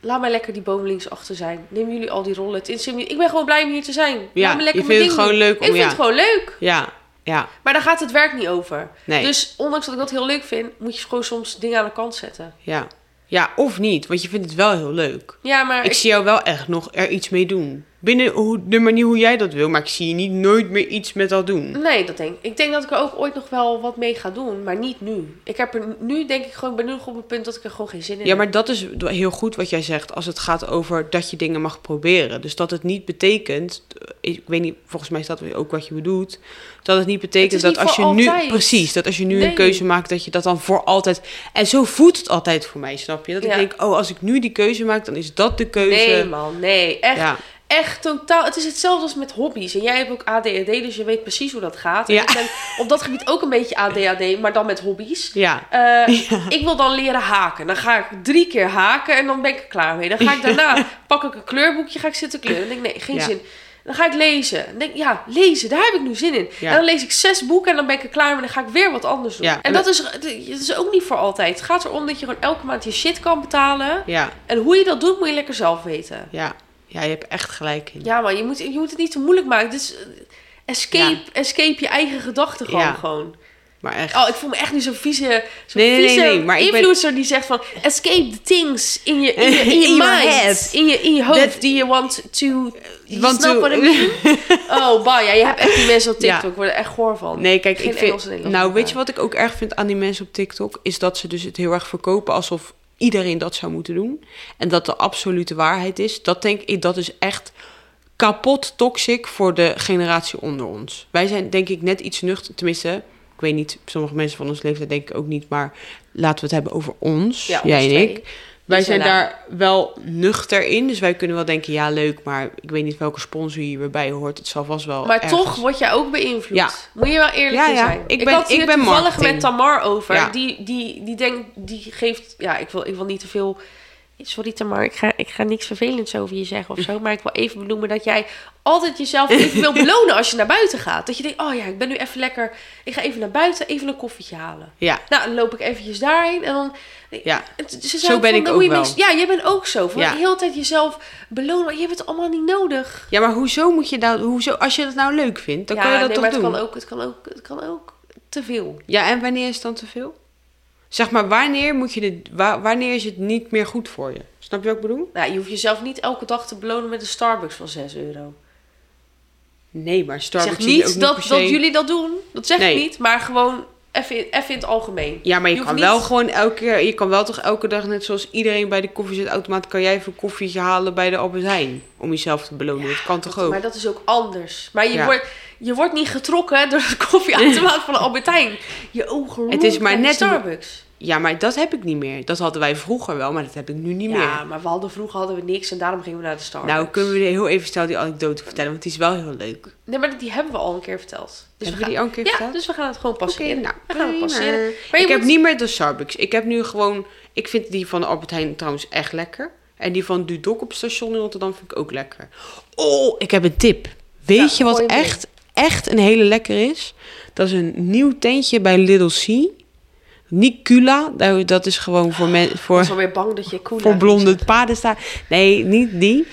Speaker 4: laat mij lekker die boom links achter zijn. Neem jullie al die rollen. Het interesseert me niet. Ik ben gewoon blij om hier te zijn.
Speaker 3: Ja,
Speaker 4: laat me lekker
Speaker 3: je
Speaker 4: mijn
Speaker 3: vindt het
Speaker 4: ding
Speaker 3: gewoon
Speaker 4: doen.
Speaker 3: leuk om-
Speaker 4: Ik vind
Speaker 3: ja.
Speaker 4: het gewoon leuk.
Speaker 3: Ja, ja.
Speaker 4: Maar daar gaat het werk niet over.
Speaker 3: Nee.
Speaker 4: Dus ondanks dat ik dat heel leuk vind, moet je gewoon soms dingen aan de kant zetten.
Speaker 3: Ja. Ja, of niet, want je vindt het wel heel leuk.
Speaker 4: Ja, maar
Speaker 3: Ik
Speaker 4: ik-
Speaker 3: zie jou wel echt nog er iets mee doen. Binnen hoe, de manier hoe jij dat wil, maar ik zie je niet nooit meer iets met dat doen.
Speaker 4: nee, dat denk ik. Ik denk dat ik er ook ooit nog wel wat mee ga doen, maar niet nu. Ik heb er nu denk ik gewoon, ik ben nu nog op het punt dat ik er gewoon geen zin in
Speaker 3: Ja,
Speaker 4: heb.
Speaker 3: maar dat is heel goed wat jij zegt als het gaat over dat je dingen mag proberen. Dus dat het niet betekent, eh, ik weet niet, volgens mij staat ook wat je bedoelt, dat het niet betekent
Speaker 4: Het is
Speaker 3: dat
Speaker 4: niet
Speaker 3: als je
Speaker 4: voor
Speaker 3: nu,
Speaker 4: altijd.
Speaker 3: precies, dat als je nu
Speaker 4: Nee.
Speaker 3: een keuze maakt, dat je dat dan voor altijd. En zo voelt het altijd voor mij, snap je? Dat ik
Speaker 4: Ja.
Speaker 3: denk, oh, als ik nu die keuze maak, dan is dat de keuze.
Speaker 4: Nee man, nee. Echt,
Speaker 3: Ja.
Speaker 4: echt totaal. Het is hetzelfde als met hobby's. En jij hebt ook ADHD, dus je weet precies hoe dat gaat. En
Speaker 3: Ja.
Speaker 4: Ik ben op dat gebied ook een beetje ADHD, maar dan met hobby's.
Speaker 3: Ja.
Speaker 4: Eh, Ik wil dan leren haken. Dan ga ik drie keer haken en dan ben ik er klaar mee. Dan ga ik daarna, pak ik een kleurboekje, ga ik zitten kleuren. Dan denk ik, nee, geen
Speaker 3: Ja.
Speaker 4: zin. Dan ga ik lezen. Dan denk ik, ja, lezen, daar heb ik nu zin in.
Speaker 3: Ja.
Speaker 4: En dan lees ik zes boeken en dan ben ik er klaar mee. Dan ga ik weer wat anders doen.
Speaker 3: Ja,
Speaker 4: en
Speaker 3: en
Speaker 4: dat, is, dat is ook niet voor altijd. Het gaat erom dat je gewoon elke maand je shit kan betalen.
Speaker 3: Ja,
Speaker 4: En hoe je dat doet, moet je lekker zelf weten.
Speaker 3: ja. Ja, je hebt echt gelijk in.
Speaker 4: Ja, maar je moet, je moet het niet te moeilijk maken. Dus eh, escape, escape je eigen gedachten gewoon.
Speaker 3: Ja.
Speaker 4: gewoon.
Speaker 3: Maar echt.
Speaker 4: Oh, ik voel me echt nu zo'n vieze, zo'n
Speaker 3: Nee, nee, nee,
Speaker 4: vieze
Speaker 3: nee, maar ik ben-
Speaker 4: influencer die zegt van... Escape the things in je, in je, in je
Speaker 3: In your
Speaker 4: mind.
Speaker 3: head.
Speaker 4: In je, in je hoofd
Speaker 3: That-
Speaker 4: die je want to... You
Speaker 3: Want
Speaker 4: snap
Speaker 3: to-
Speaker 4: what I mean? Oh, bah, ja, je hebt echt die mensen op
Speaker 3: Ja.
Speaker 4: TikTok. Ik word er echt goor van.
Speaker 3: Nee, kijk,
Speaker 4: Geen
Speaker 3: ik vind.
Speaker 4: Engels en Nederlands
Speaker 3: nou,
Speaker 4: met
Speaker 3: weet je wat ik ook erg vind aan die mensen op TikTok? Is dat ze dus het heel erg verkopen alsof iedereen dat zou moeten doen. En dat de absolute waarheid is. Dat denk ik, dat is echt kapot toxic voor de generatie onder ons. Wij zijn denk ik net iets nuchter. Tenminste, ik weet niet, sommige mensen van ons leeftijd denk ik ook niet. Maar laten we het hebben over ons,
Speaker 4: Ja, ons
Speaker 3: jij en
Speaker 4: twee.
Speaker 3: ik. Wij
Speaker 4: zijn
Speaker 3: zijn daar wel nuchter in. Dus wij kunnen wel denken, ja leuk, maar ik weet niet welke sponsor hier weer bij hoort. Het zal vast wel
Speaker 4: Maar
Speaker 3: Oh, ergens-
Speaker 4: toch word jij ook beïnvloed.
Speaker 3: Ja.
Speaker 4: Moet je wel eerlijk
Speaker 3: Ja,
Speaker 4: in
Speaker 3: ja.
Speaker 4: zijn.
Speaker 3: Ik ben-
Speaker 4: had
Speaker 3: ik
Speaker 4: hier
Speaker 3: ben
Speaker 4: toevallig
Speaker 3: marketing.
Speaker 4: met Tamar over.
Speaker 3: Ja.
Speaker 4: Die, die, die denkt, die geeft... Ja, ik wil, ik wil niet te veel... Sorry Tamar, ik ga, ik ga niks vervelends over je zeggen of zo. Maar ik wil even benoemen dat jij altijd jezelf even wil belonen als je naar buiten gaat. Dat je denkt, oh ja, ik ben nu even lekker... Ik ga even naar buiten, even een koffietje halen.
Speaker 3: Ja,
Speaker 4: Nou, dan loop ik eventjes daarheen en dan...
Speaker 3: ja.
Speaker 4: En t- Ze zei
Speaker 3: ben
Speaker 4: van,
Speaker 3: ik
Speaker 4: dan
Speaker 3: ook
Speaker 4: moet je
Speaker 3: wel.
Speaker 4: niks- Ja, jij bent ook zo. Van
Speaker 3: Ja.
Speaker 4: de hele tijd jezelf belonen. maar Je hebt het allemaal niet nodig.
Speaker 3: Ja, maar hoezo moet je dat... Hoezo, als je dat nou leuk vindt, dan kan je dat
Speaker 4: nee,
Speaker 3: toch
Speaker 4: maar
Speaker 3: doen?
Speaker 4: Het kan ook, het kan ook, het kan ook te veel.
Speaker 3: Ja, en wanneer is het dan te veel? Zeg maar, wanneer, moet je dit, wa- wanneer is het niet meer goed voor je? Snap je wat ik bedoel?
Speaker 4: Nou, je hoeft jezelf niet elke dag te belonen met een Starbucks van 6 euro.
Speaker 3: Nee, maar
Speaker 4: Ik
Speaker 3: Starbucks
Speaker 4: zeg
Speaker 3: zie je ook
Speaker 4: niet dat,
Speaker 3: per se-
Speaker 4: dat jullie dat doen. Dat zeg
Speaker 3: Nee.
Speaker 4: ik niet. Maar gewoon even in, even in het algemeen.
Speaker 3: Ja, maar je,
Speaker 4: je hoeft
Speaker 3: kan wel
Speaker 4: niet-
Speaker 3: gewoon elke keer... Je kan wel toch elke dag, net zoals iedereen bij de koffiezetautomaat... kan jij even een koffietje halen bij de Albert Heijn. Om jezelf te belonen. dat kan toch ook?
Speaker 4: Maar dat is ook anders. Maar je,
Speaker 3: Ja.
Speaker 4: wordt, je wordt niet getrokken door de koffieautomaat van de Albert Heijn. Je ogen roeren
Speaker 3: Het is maar
Speaker 4: naar
Speaker 3: net hoe-
Speaker 4: Starbucks.
Speaker 3: Ja, maar dat heb ik niet meer. Dat hadden wij vroeger wel, maar dat heb ik nu niet
Speaker 4: Ja,
Speaker 3: meer.
Speaker 4: maar we hadden, vroeger hadden we niks en daarom gingen we naar de Starbucks.
Speaker 3: Nou, kunnen we heel even snel die anekdote vertellen? Want die is wel heel leuk.
Speaker 4: Nee, maar die hebben we al een keer verteld. Dus we
Speaker 3: Hebben we die
Speaker 4: gaan-
Speaker 3: al een keer
Speaker 4: ja,
Speaker 3: verteld?
Speaker 4: dus we gaan het gewoon
Speaker 3: Oké,
Speaker 4: passeren.
Speaker 3: nou,
Speaker 4: we gaan het
Speaker 3: prima.
Speaker 4: passeren. Maar
Speaker 3: ik
Speaker 4: je
Speaker 3: heb
Speaker 4: moet-
Speaker 3: niet meer de Starbucks. Ik heb nu gewoon... Ik vind die van Albert Heijn trouwens echt lekker. En die van Dudok op station in Rotterdam vind ik ook lekker. Oh, ik heb een tip. Weet
Speaker 4: Ja,
Speaker 3: je wat
Speaker 4: gooi hem
Speaker 3: echt, echt een hele lekker is? Dat is een nieuw tentje bij Little C. Nicula, nou, dat is gewoon voor, men, voor,
Speaker 4: Ik was alweer bang dat je cool
Speaker 3: voor blonde paden staat. Nee, niet die.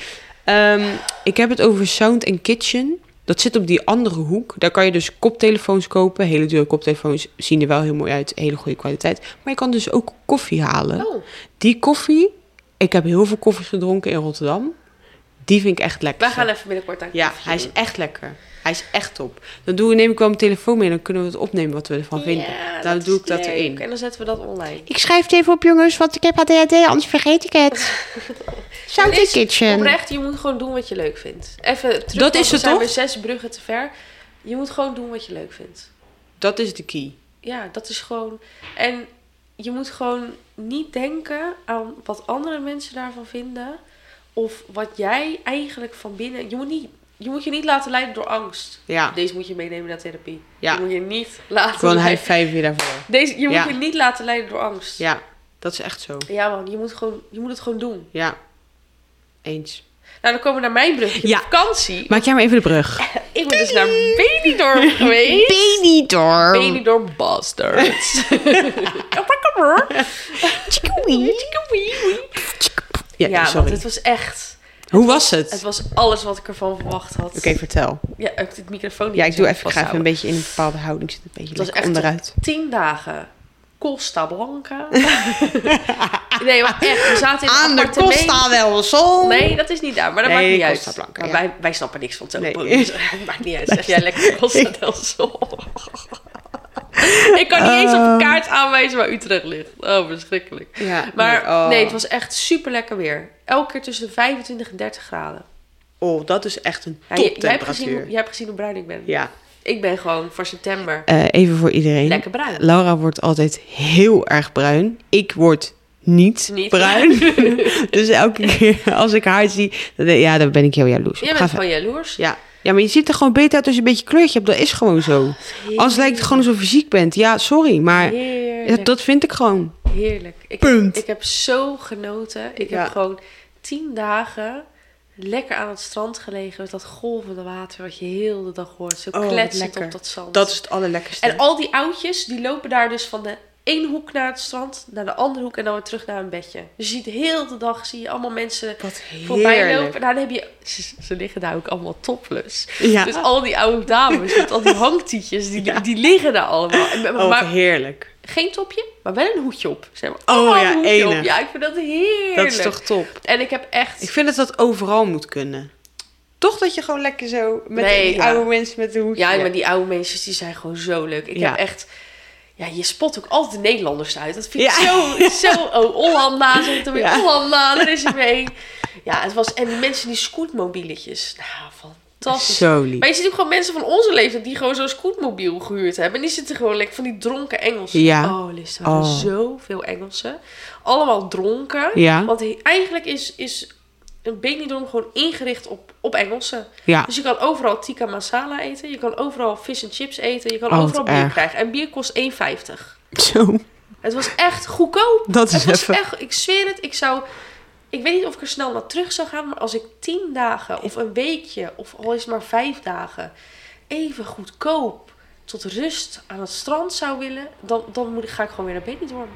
Speaker 3: Ehm, ik heb het over Sound and Kitchen. Dat zit op die andere hoek. Daar kan je dus koptelefoons kopen. Hele dure koptelefoons zien er wel heel mooi uit. Hele goede kwaliteit. Maar je kan dus ook koffie halen.
Speaker 4: Oh,
Speaker 3: Die koffie, ik heb heel veel koffie gedronken in Rotterdam. Die vind ik echt lekker.
Speaker 4: wij gaan even binnenkort aan
Speaker 3: Ja, hij is echt lekker. Hij is echt top. Dan doe, neem ik wel mijn telefoon mee en dan kunnen we het opnemen wat we ervan vinden. dan doe ik dat erin.
Speaker 4: En dan zetten we dat online.
Speaker 3: Ik schrijf het even op, jongens, want ik heb ADHD, anders vergeet ik het. Sound
Speaker 4: Dit
Speaker 3: in
Speaker 4: is
Speaker 3: Kitchen.
Speaker 4: Oprecht, je moet gewoon doen wat je leuk vindt. Even terug,
Speaker 3: Dat
Speaker 4: want
Speaker 3: is
Speaker 4: we
Speaker 3: het
Speaker 4: zijn
Speaker 3: toch?
Speaker 4: weer zes bruggen te ver. Je moet gewoon doen wat je leuk vindt.
Speaker 3: Dat is de key.
Speaker 4: Ja, dat is gewoon... En je moet gewoon niet denken aan wat andere mensen daarvan vinden. Of wat jij eigenlijk van binnen... Je moet niet... Je moet je niet laten leiden door angst.
Speaker 3: Ja,
Speaker 4: Deze moet je meenemen naar therapie.
Speaker 3: Ja.
Speaker 4: Je moet je niet
Speaker 3: ik
Speaker 4: laten...
Speaker 3: wil een
Speaker 4: leiden-
Speaker 3: high five hier daarvoor.
Speaker 4: Deze, je moet
Speaker 3: Ja.
Speaker 4: je niet laten leiden door angst.
Speaker 3: Ja, dat is echt zo.
Speaker 4: Ja, man, je moet, gewoon, je moet het gewoon doen.
Speaker 3: Ja, eens.
Speaker 4: Nou, dan komen we naar mijn brugje.
Speaker 3: Ja.
Speaker 4: Vakantie.
Speaker 3: Maak jij maar even de brug.
Speaker 4: Ik ben dus naar Benidorm geweest.
Speaker 3: Benidorm.
Speaker 4: Benidorm Bastards.
Speaker 3: Ja,
Speaker 4: ja, want
Speaker 3: sorry.
Speaker 4: het was echt...
Speaker 3: Hoe was het?
Speaker 4: Het
Speaker 3: Oké,
Speaker 4: was alles wat ik ervan verwacht had.
Speaker 3: vertel.
Speaker 4: Ja, ook dit microfoon niet
Speaker 3: Ja, ik
Speaker 4: zo
Speaker 3: doe even, ik ga even
Speaker 4: vasthouden.
Speaker 3: een beetje in een bepaalde houding zitten. Een beetje
Speaker 4: Het was
Speaker 3: lekker
Speaker 4: echt
Speaker 3: onderuit.
Speaker 4: tien dagen. Costa Blanca. nee, maar echt, we zaten in een
Speaker 3: Aan de
Speaker 4: appartement.
Speaker 3: Costa del Sol.
Speaker 4: Nee, dat is niet daar, maar dat
Speaker 3: Nee,
Speaker 4: maakt niet
Speaker 3: Costa
Speaker 4: uit.
Speaker 3: Blanca,
Speaker 4: maar
Speaker 3: ja.
Speaker 4: wij, wij snappen niks van topo,
Speaker 3: Nee.
Speaker 4: dus het maakt niet uit. Zeg jij lekker Costa del Sol. Ik kan niet eens op
Speaker 3: Eh.
Speaker 4: een kaart aanwijzen waar Utrecht ligt. Oh, verschrikkelijk.
Speaker 3: Ja,
Speaker 4: Maar nee,
Speaker 3: oh.
Speaker 4: het was echt super lekker weer. Elke keer tussen de 25 en 30 graden.
Speaker 3: Oh, dat is echt een
Speaker 4: Ja,
Speaker 3: top
Speaker 4: je- jij, hebt gezien,
Speaker 3: temperatuur.
Speaker 4: hoe- jij hebt gezien hoe bruin ik ben.
Speaker 3: Ja.
Speaker 4: Ik ben gewoon voor september
Speaker 3: Eh, even voor iedereen.
Speaker 4: lekker bruin.
Speaker 3: Laura wordt altijd heel erg bruin. Ik word niet,
Speaker 4: Niet.
Speaker 3: bruin. dus elke keer als ik haar zie, dan, denk ik, ja, dan ben ik heel jaloers.
Speaker 4: Jij
Speaker 3: Ga
Speaker 4: bent
Speaker 3: ver-
Speaker 4: gewoon jaloers.
Speaker 3: ja. ja, maar je ziet er gewoon beter uit als je een beetje kleurtje hebt. Dat is gewoon zo.
Speaker 4: Ah,
Speaker 3: Anders lijkt het gewoon alsof je ziek bent. Ja, sorry, maar ja,
Speaker 4: Heerlijk.
Speaker 3: dat vind ik gewoon.
Speaker 4: Heerlijk. Ik,
Speaker 3: Punt.
Speaker 4: Ik heb zo genoten. Ik
Speaker 3: Ja.
Speaker 4: heb gewoon tien dagen lekker aan het strand gelegen met dat golvende water wat je heel de dag hoort. Zo
Speaker 3: Oh, wat
Speaker 4: kletsend
Speaker 3: lekker.
Speaker 4: op dat zand.
Speaker 3: Dat is het allerlekkerste.
Speaker 4: En al die oudjes, die lopen daar dus van de ene hoek naar het strand, naar de andere hoek en dan weer terug naar hun bedje. Dus je ziet heel de dag, zie je allemaal mensen
Speaker 3: Wat
Speaker 4: voorbij
Speaker 3: heerlijk.
Speaker 4: lopen. Nou, dan heb je, ze- ze liggen daar ook allemaal topless.
Speaker 3: Ja.
Speaker 4: Dus al die oude dames met al die hangtietjes, die, die liggen daar allemaal. En-
Speaker 3: Oh,
Speaker 4: maar-
Speaker 3: heerlijk.
Speaker 4: geen topje, maar wel een hoedje op. Zeg maar,
Speaker 3: Oh
Speaker 4: allemaal
Speaker 3: ja,
Speaker 4: een hoedje
Speaker 3: enig.
Speaker 4: op. Ja, ik vind dat heerlijk.
Speaker 3: Dat is toch top.
Speaker 4: En ik heb echt...
Speaker 3: Ik vind dat dat overal moet kunnen. Toch dat je gewoon lekker zo met
Speaker 4: Nee,
Speaker 3: die
Speaker 4: ja.
Speaker 3: oude mensen met de hoedje.
Speaker 4: Ja, maar die oude mensen, die zijn gewoon zo leuk. Ik
Speaker 3: Ja.
Speaker 4: heb echt... Ja, je spot ook altijd de Nederlanders uit. Dat vind ik
Speaker 3: Ja.
Speaker 4: zo... zo oh, Hollanda, zit er weer.
Speaker 3: Ja.
Speaker 4: Hollanda, daar is er weer een. Ja, het was... En die mensen, die scootmobieletjes. Nou, fantastisch.
Speaker 3: Zo lief.
Speaker 4: Maar je ziet ook gewoon mensen van onze leeftijd die gewoon zo'n scootmobiel gehuurd hebben. En die zitten gewoon lekker van die dronken Engelsen.
Speaker 3: Ja.
Speaker 4: Oh, Liz, er waren
Speaker 3: Oh.
Speaker 4: zoveel Engelsen. Allemaal dronken.
Speaker 3: Ja.
Speaker 4: Want he- eigenlijk is, is een Benidorm gewoon ingericht op, op Engelsen.
Speaker 3: Ja.
Speaker 4: Dus je kan overal tikka masala eten. Je kan overal fish and chips eten. Je kan
Speaker 3: Oh, wat
Speaker 4: overal bier
Speaker 3: erg.
Speaker 4: krijgen. En bier kost 1,50.
Speaker 3: Zo.
Speaker 4: Het was echt goedkoop.
Speaker 3: Dat is
Speaker 4: het was
Speaker 3: even-
Speaker 4: echt... Ik zweer het. Ik zou... Ik weet niet of ik er snel naar terug zou gaan. Maar als ik tien dagen of een weekje of al is het maar vijf dagen... even goedkoop tot rust aan het strand zou willen... dan, dan moet ik, ga ik gewoon weer naar Benidorm.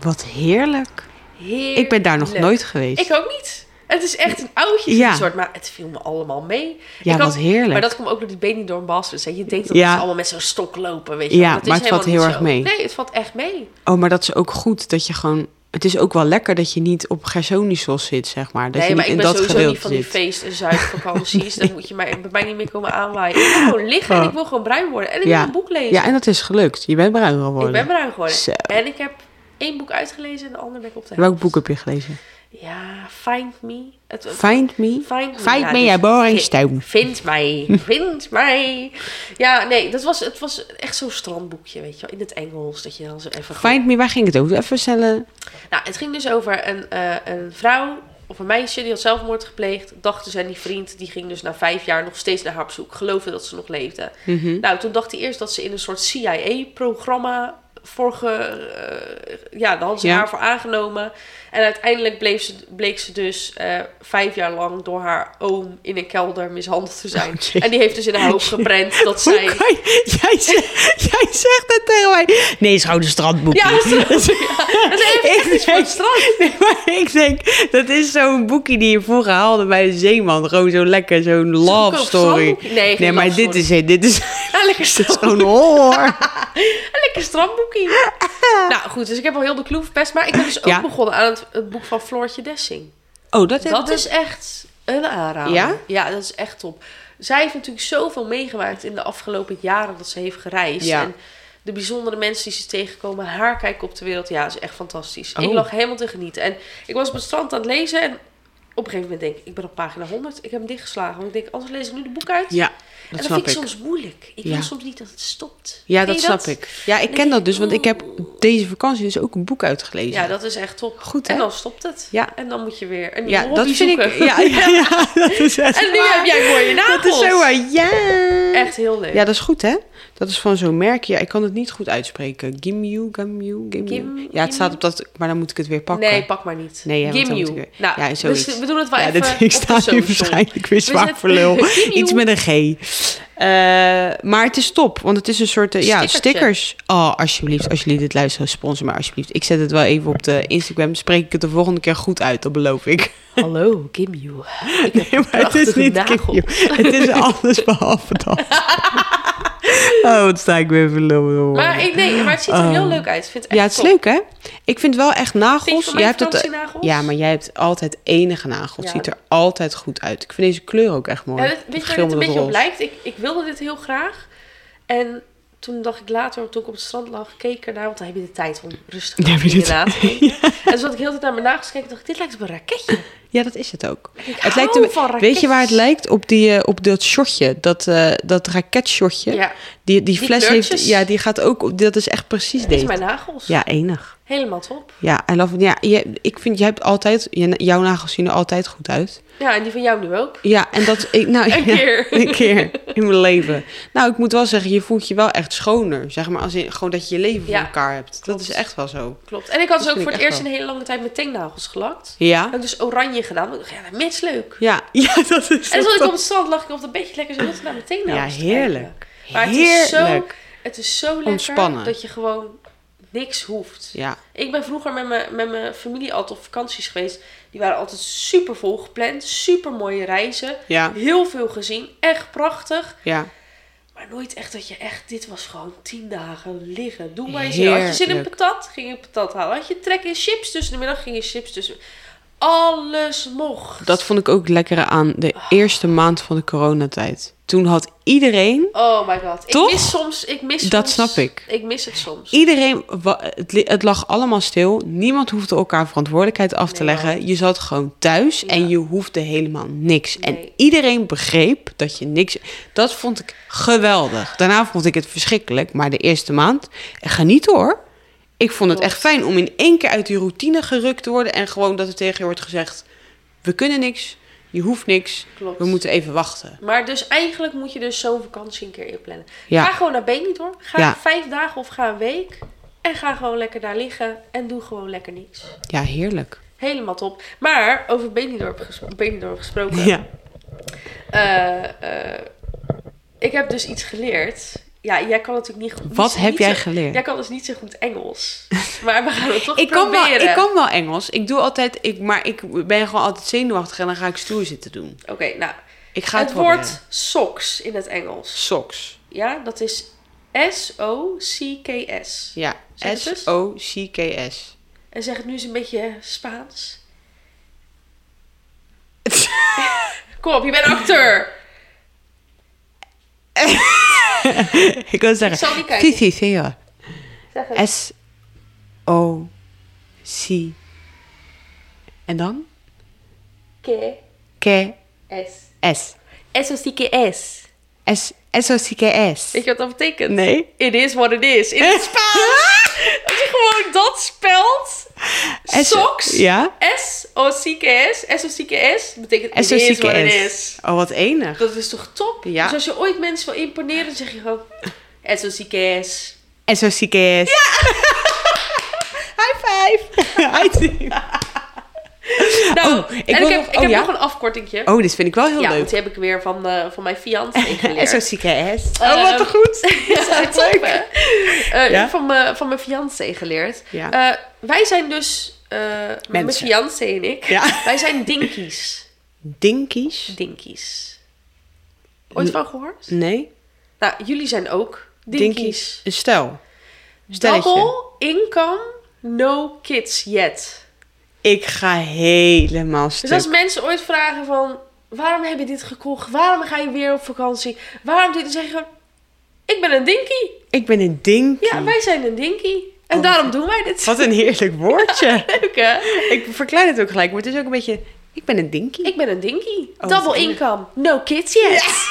Speaker 3: Wat heerlijk.
Speaker 4: Heerlijk.
Speaker 3: Ik ben daar nog nooit geweest.
Speaker 4: Ik ook niet. Het is echt een oudje
Speaker 3: Ja.
Speaker 4: soort, maar het viel me allemaal mee.
Speaker 3: ja,
Speaker 4: ik
Speaker 3: wat
Speaker 4: had-
Speaker 3: heerlijk.
Speaker 4: Maar dat komt ook door die Benidorm Bastards. hè. Je denkt dat
Speaker 3: Ja.
Speaker 4: ze allemaal met zo'n stok lopen, weet je wel.
Speaker 3: Ja,
Speaker 4: Dat is
Speaker 3: maar het valt
Speaker 4: helemaal
Speaker 3: heel
Speaker 4: niet
Speaker 3: erg
Speaker 4: zo.
Speaker 3: mee.
Speaker 4: Nee, het valt echt mee.
Speaker 3: Oh, maar dat is ook goed dat je gewoon... Het is ook wel lekker dat je niet op Gersonisos zit, zeg maar. Dat
Speaker 4: nee,
Speaker 3: je
Speaker 4: maar
Speaker 3: niet
Speaker 4: ik
Speaker 3: in
Speaker 4: ben
Speaker 3: dat
Speaker 4: sowieso
Speaker 3: gedeelte
Speaker 4: niet van die
Speaker 3: zit.
Speaker 4: feest- en zuidvakanties. Dan moet je mij, bij mij niet meer komen aanwaaien. Ik wil gewoon liggen en
Speaker 3: Oh.
Speaker 4: ik wil gewoon bruin worden. En ik
Speaker 3: Ja.
Speaker 4: wil een boek lezen.
Speaker 3: Ja, en dat is gelukt. Je bent bruin geworden.
Speaker 4: Ik ben bruin geworden.
Speaker 3: Zo.
Speaker 4: En ik heb één boek uitgelezen en de ander ben ik op de
Speaker 3: Welk
Speaker 4: helft.
Speaker 3: boek heb je gelezen?
Speaker 4: Ja, Find Me. Het,
Speaker 3: Find Me?
Speaker 4: Find me,
Speaker 3: Find
Speaker 4: ja,
Speaker 3: Me,
Speaker 4: dus
Speaker 3: ja, Boring
Speaker 4: vi-
Speaker 3: Stone. Hmm.
Speaker 4: Vind mij, vind mij. Ja, nee, dat was, het was echt zo'n strandboekje, weet je wel. In het Engels, dat je dan zo even...
Speaker 3: Find Me, waar ging het over? Even snelle...
Speaker 4: Nou, het ging dus over een, eh, een vrouw of een meisje die had zelfmoord gepleegd. Dacht dus aan die vriend, die ging dus na vijf jaar nog steeds naar haar op zoek. Geloofde dat ze nog leefde. Nou, toen dacht hij eerst dat ze in een soort CIA-programma voor ge, eh, ja, daar hadden ze
Speaker 3: Ja.
Speaker 4: haar voor aangenomen. En uiteindelijk bleef ze, bleek ze dus eh, vijf jaar lang door haar oom in een kelder mishandeld te zijn.
Speaker 3: Oh, jee.
Speaker 4: en die heeft dus in haar hoofd geprent dat
Speaker 3: Hoe
Speaker 4: zij...
Speaker 3: kan je- jij, zegt, jij zegt het tegen mij. Nee, het is gewoon een strandboekje.
Speaker 4: Ja, dat is-
Speaker 3: Dat is-
Speaker 4: Dat is even
Speaker 3: Ik
Speaker 4: echt iets voor
Speaker 3: denk-
Speaker 4: het strand.
Speaker 3: Nee, maar ik denk, dat is zo'n boekje die je vroeger haalde bij de zeeman. Gewoon zo lekker, zo'n love
Speaker 4: Goedkoop
Speaker 3: story.
Speaker 4: strandboekje. Nee, geen
Speaker 3: Nee, maar
Speaker 4: love
Speaker 3: dit
Speaker 4: story.
Speaker 3: is, dit is,
Speaker 4: Ja, lekker
Speaker 3: dit is
Speaker 4: strand.
Speaker 3: gewoon horror.
Speaker 4: Een lekker strandboekje. nou goed, dus ik heb al heel de kloof best. Maar ik ben dus ook
Speaker 3: Ja.
Speaker 4: begonnen aan het, het boek van Floortje Dessing.
Speaker 3: Oh, dat, heb-
Speaker 4: Dat is echt een aanrader.
Speaker 3: Ja?
Speaker 4: Ja, dat is echt top. Zij heeft natuurlijk zoveel meegemaakt in de afgelopen jaren dat ze heeft gereisd.
Speaker 3: Ja.
Speaker 4: En de bijzondere mensen die ze tegenkomen, haar kijken op de wereld. Ja, is echt fantastisch.
Speaker 3: Oh.
Speaker 4: Ik lag helemaal te genieten. En ik was op het strand aan het lezen en op een gegeven moment denk ik, ik ben op pagina 100. Ik heb hem dichtgeslagen. Want ik denk, anders lees ik nu de boek uit.
Speaker 3: Ja,
Speaker 4: en
Speaker 3: dat
Speaker 4: dat
Speaker 3: snap
Speaker 4: vind
Speaker 3: ik.
Speaker 4: ik soms moeilijk. Ik
Speaker 3: Ja.
Speaker 4: wil soms niet dat het stopt.
Speaker 3: Ja,
Speaker 4: Ken
Speaker 3: dat
Speaker 4: je
Speaker 3: snap ik. Ja, ik
Speaker 4: Dan
Speaker 3: ken
Speaker 4: denk
Speaker 3: dat
Speaker 4: ik,
Speaker 3: dus, want ik heb
Speaker 4: oeh.
Speaker 3: deze vakantie dus ook een boek uitgelezen.
Speaker 4: Ja, dat is echt top.
Speaker 3: Goed, hè?
Speaker 4: En dan stopt het.
Speaker 3: Ja.
Speaker 4: En dan moet je weer een nieuwe
Speaker 3: Ja,
Speaker 4: hobby
Speaker 3: dat vind
Speaker 4: zoeken.
Speaker 3: ik. Ja, ja, ja, dat is echt.
Speaker 4: En nu
Speaker 3: waar.
Speaker 4: heb jij mooie nagels.
Speaker 3: Dat is zo waar. Ja.
Speaker 4: Echt heel leuk.
Speaker 3: Mm. Ja, dat is goed, hè? Dat is van zo'n merk. Ja, ik kan het niet goed uitspreken. Gimyu, Gamyu,
Speaker 4: Gim-
Speaker 3: Gimyu. Ja, het staat op dat, maar dan moet ik het weer pakken.
Speaker 4: Nee, pak maar niet.
Speaker 3: Nee, ja, want dan
Speaker 4: Gimyu.
Speaker 3: moet ik weer-
Speaker 4: Nou,
Speaker 3: ja,
Speaker 4: dus
Speaker 3: zoiets.
Speaker 4: we doen het wel
Speaker 3: ja,
Speaker 4: even
Speaker 3: dit, ik
Speaker 4: op
Speaker 3: sta
Speaker 4: de social.
Speaker 3: hier waarschijnlijk weer zwaar
Speaker 4: zetten-
Speaker 3: voor lul. Iets
Speaker 4: Gimyu.
Speaker 3: met een G. Eh, maar het is top, want het is een soort eh, ja,
Speaker 4: Stickertje.
Speaker 3: stickers. Oh, alsjeblieft, als jullie dit luisteren, sponsor me alsjeblieft. Ik zet het wel even op de Instagram. Spreek ik het de volgende keer goed uit, dat beloof ik.
Speaker 4: Hallo, Gimyu. Ik heb
Speaker 3: Nee, maar het is
Speaker 4: prachtige
Speaker 3: niet
Speaker 4: nagels.
Speaker 3: Gimyu. Het is alles behalve dat. Oh, wat sta ik weer verloren.
Speaker 4: Maar, ik, nee, maar het ziet er
Speaker 3: Oh.
Speaker 4: heel leuk uit. Ik Vind het echt
Speaker 3: Ja, het is
Speaker 4: top.
Speaker 3: leuk, hè? Ik vind wel echt
Speaker 4: Vind
Speaker 3: nagels.
Speaker 4: je van
Speaker 3: jij
Speaker 4: mijn
Speaker 3: hebt het, eh,
Speaker 4: vakantienagels?
Speaker 3: ja, maar jij hebt altijd enige nagels.
Speaker 4: Ja.
Speaker 3: Ziet er altijd goed uit. Ik vind deze kleur ook echt mooi.
Speaker 4: Ja, dit,
Speaker 3: Het
Speaker 4: weet je waar
Speaker 3: geel
Speaker 4: dit een
Speaker 3: met
Speaker 4: beetje op
Speaker 3: roze.
Speaker 4: lijkt? Ik, ik wilde dit heel graag. En toen dacht ik later, toen ik op het strand lag, keek ik ernaar. Want dan heb je de tijd om rustig
Speaker 3: Dan heb je
Speaker 4: dingen
Speaker 3: de
Speaker 4: na te denken. En toen zat ik heel de tijd naar mijn nagels te kijken. dacht ik, dit lijkt op een raketje.
Speaker 3: Ja, dat is het ook. het
Speaker 4: hou
Speaker 3: lijkt een-
Speaker 4: van
Speaker 3: Weet je waar het
Speaker 4: raketjes.
Speaker 3: lijkt? Op, die, eh, op dat shotje. Dat, eh dat raketshotje.
Speaker 4: Ja,
Speaker 3: Die, die
Speaker 4: Die
Speaker 3: fles heeft...
Speaker 4: kleurtjes.
Speaker 3: Ja, die gaat ook... Op, dat is echt precies
Speaker 4: dit is
Speaker 3: deze.
Speaker 4: mijn nagels.
Speaker 3: Ja, enig.
Speaker 4: Helemaal top.
Speaker 3: Ja, I love it. ja je, ik vind, jij hebt altijd... je- jouw nagels zien er altijd goed uit.
Speaker 4: Ja, en die van jou nu ook.
Speaker 3: Ja, en dat... Ik, nou,
Speaker 4: Een
Speaker 3: ja.
Speaker 4: keer.
Speaker 3: een keer in mijn leven. Nou, ik moet wel zeggen, je voelt je wel echt schoner. Zeg maar, als in, gewoon dat je je leven
Speaker 4: Ja,
Speaker 3: voor elkaar hebt. Dat is echt wel zo.
Speaker 4: Klopt. En ik had
Speaker 3: Dat
Speaker 4: dus ook
Speaker 3: vind
Speaker 4: voor het
Speaker 3: ik echt
Speaker 4: eerst
Speaker 3: wel.
Speaker 4: een hele lange tijd mijn teennagels gelakt.
Speaker 3: Ja?
Speaker 4: Heb ik dus oranje gedaan. Want ik dacht, ja, dat is leuk.
Speaker 3: Ja, ja dat is
Speaker 4: En toen ik
Speaker 3: toch-
Speaker 4: op het strand lag ik op dat beetje lekker zo heel te naar mijn
Speaker 3: Ja,
Speaker 4: teennagels te kijken.
Speaker 3: heerlijk.
Speaker 4: Maar het is zo-
Speaker 3: heerlijk.
Speaker 4: Het is zo lekker
Speaker 3: Ontspannen.
Speaker 4: dat je gewoon niks hoeft.
Speaker 3: Ja,
Speaker 4: Ik ben vroeger met mijn, met mijn familie altijd op vakanties geweest. Die waren altijd super vol gepland. Super mooie reizen.
Speaker 3: ja,
Speaker 4: Heel veel gezien. Echt prachtig.
Speaker 3: ja.
Speaker 4: Maar nooit echt dat je echt... Dit was gewoon tien dagen liggen. Doe maar je zin. Had je zin in
Speaker 3: Heerlijk.
Speaker 4: patat? Ging je patat halen. Had je trek in chips tussen de middag? Ging je chips tussen... Alles mocht.
Speaker 3: Dat vond ik ook lekker aan de eerste maand van de coronatijd. Toen had iedereen...
Speaker 4: Oh my god.
Speaker 3: Toch?
Speaker 4: Ik mis soms... Ik mis
Speaker 3: Dat
Speaker 4: soms-
Speaker 3: snap ik.
Speaker 4: Ik mis het soms.
Speaker 3: Iedereen, wa- het, li- het lag allemaal stil. Niemand hoefde elkaar verantwoordelijkheid af te
Speaker 4: Nee,
Speaker 3: leggen. Je zat gewoon thuis
Speaker 4: Ja.
Speaker 3: en je hoefde helemaal niks. En
Speaker 4: Nee.
Speaker 3: iedereen begreep dat je niks. Dat vond ik geweldig. Daarna vond ik het verschrikkelijk. Maar de eerste maand, geniet hoor. Ik vond het
Speaker 4: Klopt.
Speaker 3: echt fijn om in één keer uit die routine gerukt te worden. En gewoon dat er tegen je wordt gezegd: we kunnen niks, je hoeft niks,
Speaker 4: Klopt.
Speaker 3: we moeten even wachten.
Speaker 4: Maar dus eigenlijk moet je dus zo'n vakantie een keer inplannen.
Speaker 3: Ja.
Speaker 4: Ga gewoon naar Benidorm. Ga
Speaker 3: Ja.
Speaker 4: vijf dagen of ga een week. En ga gewoon lekker daar liggen. En doe gewoon lekker niks.
Speaker 3: Ja, heerlijk.
Speaker 4: Helemaal top. Maar over Benidorm, ges- Benidorm gesproken.
Speaker 3: Ja.
Speaker 4: eh, eh, ik heb dus iets geleerd. Ja, jij kan natuurlijk niet goed...
Speaker 3: Wat
Speaker 4: niet-
Speaker 3: heb
Speaker 4: niet
Speaker 3: jij
Speaker 4: zo-
Speaker 3: geleerd?
Speaker 4: Jij kan dus niet zo goed Engels. Maar we gaan het toch
Speaker 3: ik kan, wel,
Speaker 4: proberen.
Speaker 3: ik kan wel Engels. Ik doe altijd, ik, maar ik ben gewoon altijd zenuwachtig en dan ga ik stoer zitten doen.
Speaker 4: Oké, nou.
Speaker 3: Ik ga het,
Speaker 4: het
Speaker 3: proberen.
Speaker 4: woord socks in het Engels.
Speaker 3: socks.
Speaker 4: Ja, dat is S-O-C-K-S.
Speaker 3: Ja,
Speaker 4: Zeg het eens.
Speaker 3: S-O-C-K-S.
Speaker 4: En zeg het nu eens een beetje Spaans. Kom op, je bent acteur.
Speaker 3: Ik wil
Speaker 4: Ik
Speaker 3: zeggen,
Speaker 4: zal niet kijken.
Speaker 3: Fifi, Theo.
Speaker 4: Zeg het.
Speaker 3: S-O-C. En dan?
Speaker 4: Que
Speaker 3: K-S.
Speaker 4: es. Eso sí que es.
Speaker 3: S- S-O-C-K-S.
Speaker 4: Weet je wat dat betekent?
Speaker 3: Nee.
Speaker 4: It is what it is. In het Spaans. Als je gewoon dat spelt.
Speaker 3: S-
Speaker 4: Socks.
Speaker 3: Ja?
Speaker 4: S-O-C-K-S. S-O-C-K-S. Betekent it is what it is.
Speaker 3: S-O-C-K-S. Oh, wat enig.
Speaker 4: Dat is toch top?
Speaker 3: Ja.
Speaker 4: Dus als je ooit mensen wil imponeren, dan zeg je gewoon... S-O-C-K-S.
Speaker 3: S-O-C-K-S. Ja! High five! High five!
Speaker 4: Nou,
Speaker 3: Oh, ik
Speaker 4: en
Speaker 3: wil
Speaker 4: ik heb,
Speaker 3: nog-
Speaker 4: ik
Speaker 3: oh,
Speaker 4: heb
Speaker 3: ja?
Speaker 4: nog een afkortingje.
Speaker 3: Oh, dit vind ik wel heel
Speaker 4: ja,
Speaker 3: leuk.
Speaker 4: want die heb ik weer van, eh, van mijn fiancé geleerd.
Speaker 3: SOCKS.
Speaker 4: Oh, wat een
Speaker 3: goed.
Speaker 4: ja, top, hè? Eh,
Speaker 3: Ja?
Speaker 4: van, mijn, van mijn fiancé geleerd.
Speaker 3: Ja.
Speaker 4: Eh, wij zijn dus, eh, mijn
Speaker 3: Mensen.
Speaker 4: fiancé en ik,
Speaker 3: Ja.
Speaker 4: wij zijn dinkies.
Speaker 3: Dinkies?
Speaker 4: Dinkies. Ooit van gehoord?
Speaker 3: Nee.
Speaker 4: Nou, jullie zijn ook dinkies.
Speaker 3: Dinkies. Een stel. Stelletje.
Speaker 4: Double income, no kids yet.
Speaker 3: Ik ga helemaal
Speaker 4: Dus
Speaker 3: stuk.
Speaker 4: als mensen ooit vragen van... Waarom heb je dit gekocht? Waarom ga je weer op vakantie? Waarom doe je... Dan zeg je gewoon... Ik ben een dinkie.
Speaker 3: Ik ben een dinkie.
Speaker 4: Ja, wij zijn een dinkie. En
Speaker 3: Oh,
Speaker 4: daarom doen wij dit.
Speaker 3: Wat een heerlijk woordje.
Speaker 4: leuk, hè?
Speaker 3: Ik verklein het ook gelijk, maar het is ook een beetje... Ik ben een dinky.
Speaker 4: Ik ben een dinky.
Speaker 3: Oh, wat
Speaker 4: Double
Speaker 3: erg.
Speaker 4: income. No kids yet.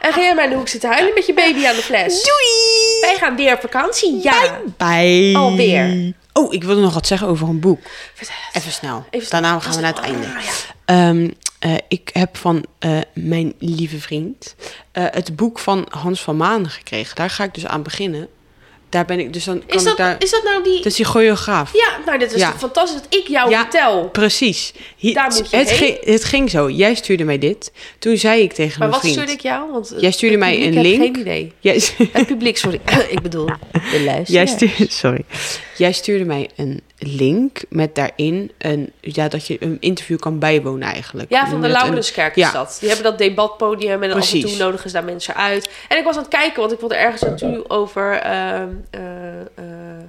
Speaker 4: En ga jij maar in de hoek zitten huilen met je baby aan de fles.
Speaker 3: Doei!
Speaker 4: Wij gaan weer op vakantie. Ja.
Speaker 3: Bye! Bye!
Speaker 4: Alweer.
Speaker 3: Oh, ik wilde nog wat zeggen over een boek.
Speaker 4: Vertel het.
Speaker 3: Even snel.
Speaker 4: Even snel.
Speaker 3: Daarna gaan we naar het
Speaker 4: Oh,
Speaker 3: einde.
Speaker 4: ja.
Speaker 3: Ehm, eh, ik heb van eh, mijn lieve vriend eh, het boek van Hans van Maan gekregen. Daar ga ik dus aan beginnen. Daar ben ik dus dan. Kan
Speaker 4: Is dat,
Speaker 3: ik daar,
Speaker 4: is dat nou die...
Speaker 3: Het is die choreograaf.
Speaker 4: Ja, nou, dit is
Speaker 3: Ja.
Speaker 4: toch fantastisch dat ik jou
Speaker 3: Ja.
Speaker 4: vertel.
Speaker 3: Precies. Hi-
Speaker 4: Daar moet je
Speaker 3: het,
Speaker 4: heen.
Speaker 3: ging, het ging zo. Jij stuurde mij dit. Toen zei ik tegen
Speaker 4: Maar
Speaker 3: mijn
Speaker 4: wat
Speaker 3: vriend.
Speaker 4: stuurde ik jou? Want eh,
Speaker 3: Jij stuurde
Speaker 4: het
Speaker 3: mij een
Speaker 4: publiek heeft
Speaker 3: link.
Speaker 4: geen idee.
Speaker 3: Jij,
Speaker 4: Het publiek, sorry. ik bedoel, de
Speaker 3: jij,
Speaker 4: luisteraar.
Speaker 3: stuurde, sorry. jij stuurde mij een link met daarin een, ja, dat je een interview kan bijwonen eigenlijk.
Speaker 4: Ja,
Speaker 3: Noem
Speaker 4: van de
Speaker 3: je dat een-
Speaker 4: Laurenskerk is
Speaker 3: ja.
Speaker 4: dat. Die hebben dat debatpodium en af en toe
Speaker 3: Precies.
Speaker 4: nodigen ze daar mensen uit. En ik was aan het kijken, want ik wilde ergens naartoe over ehm, eh, eh,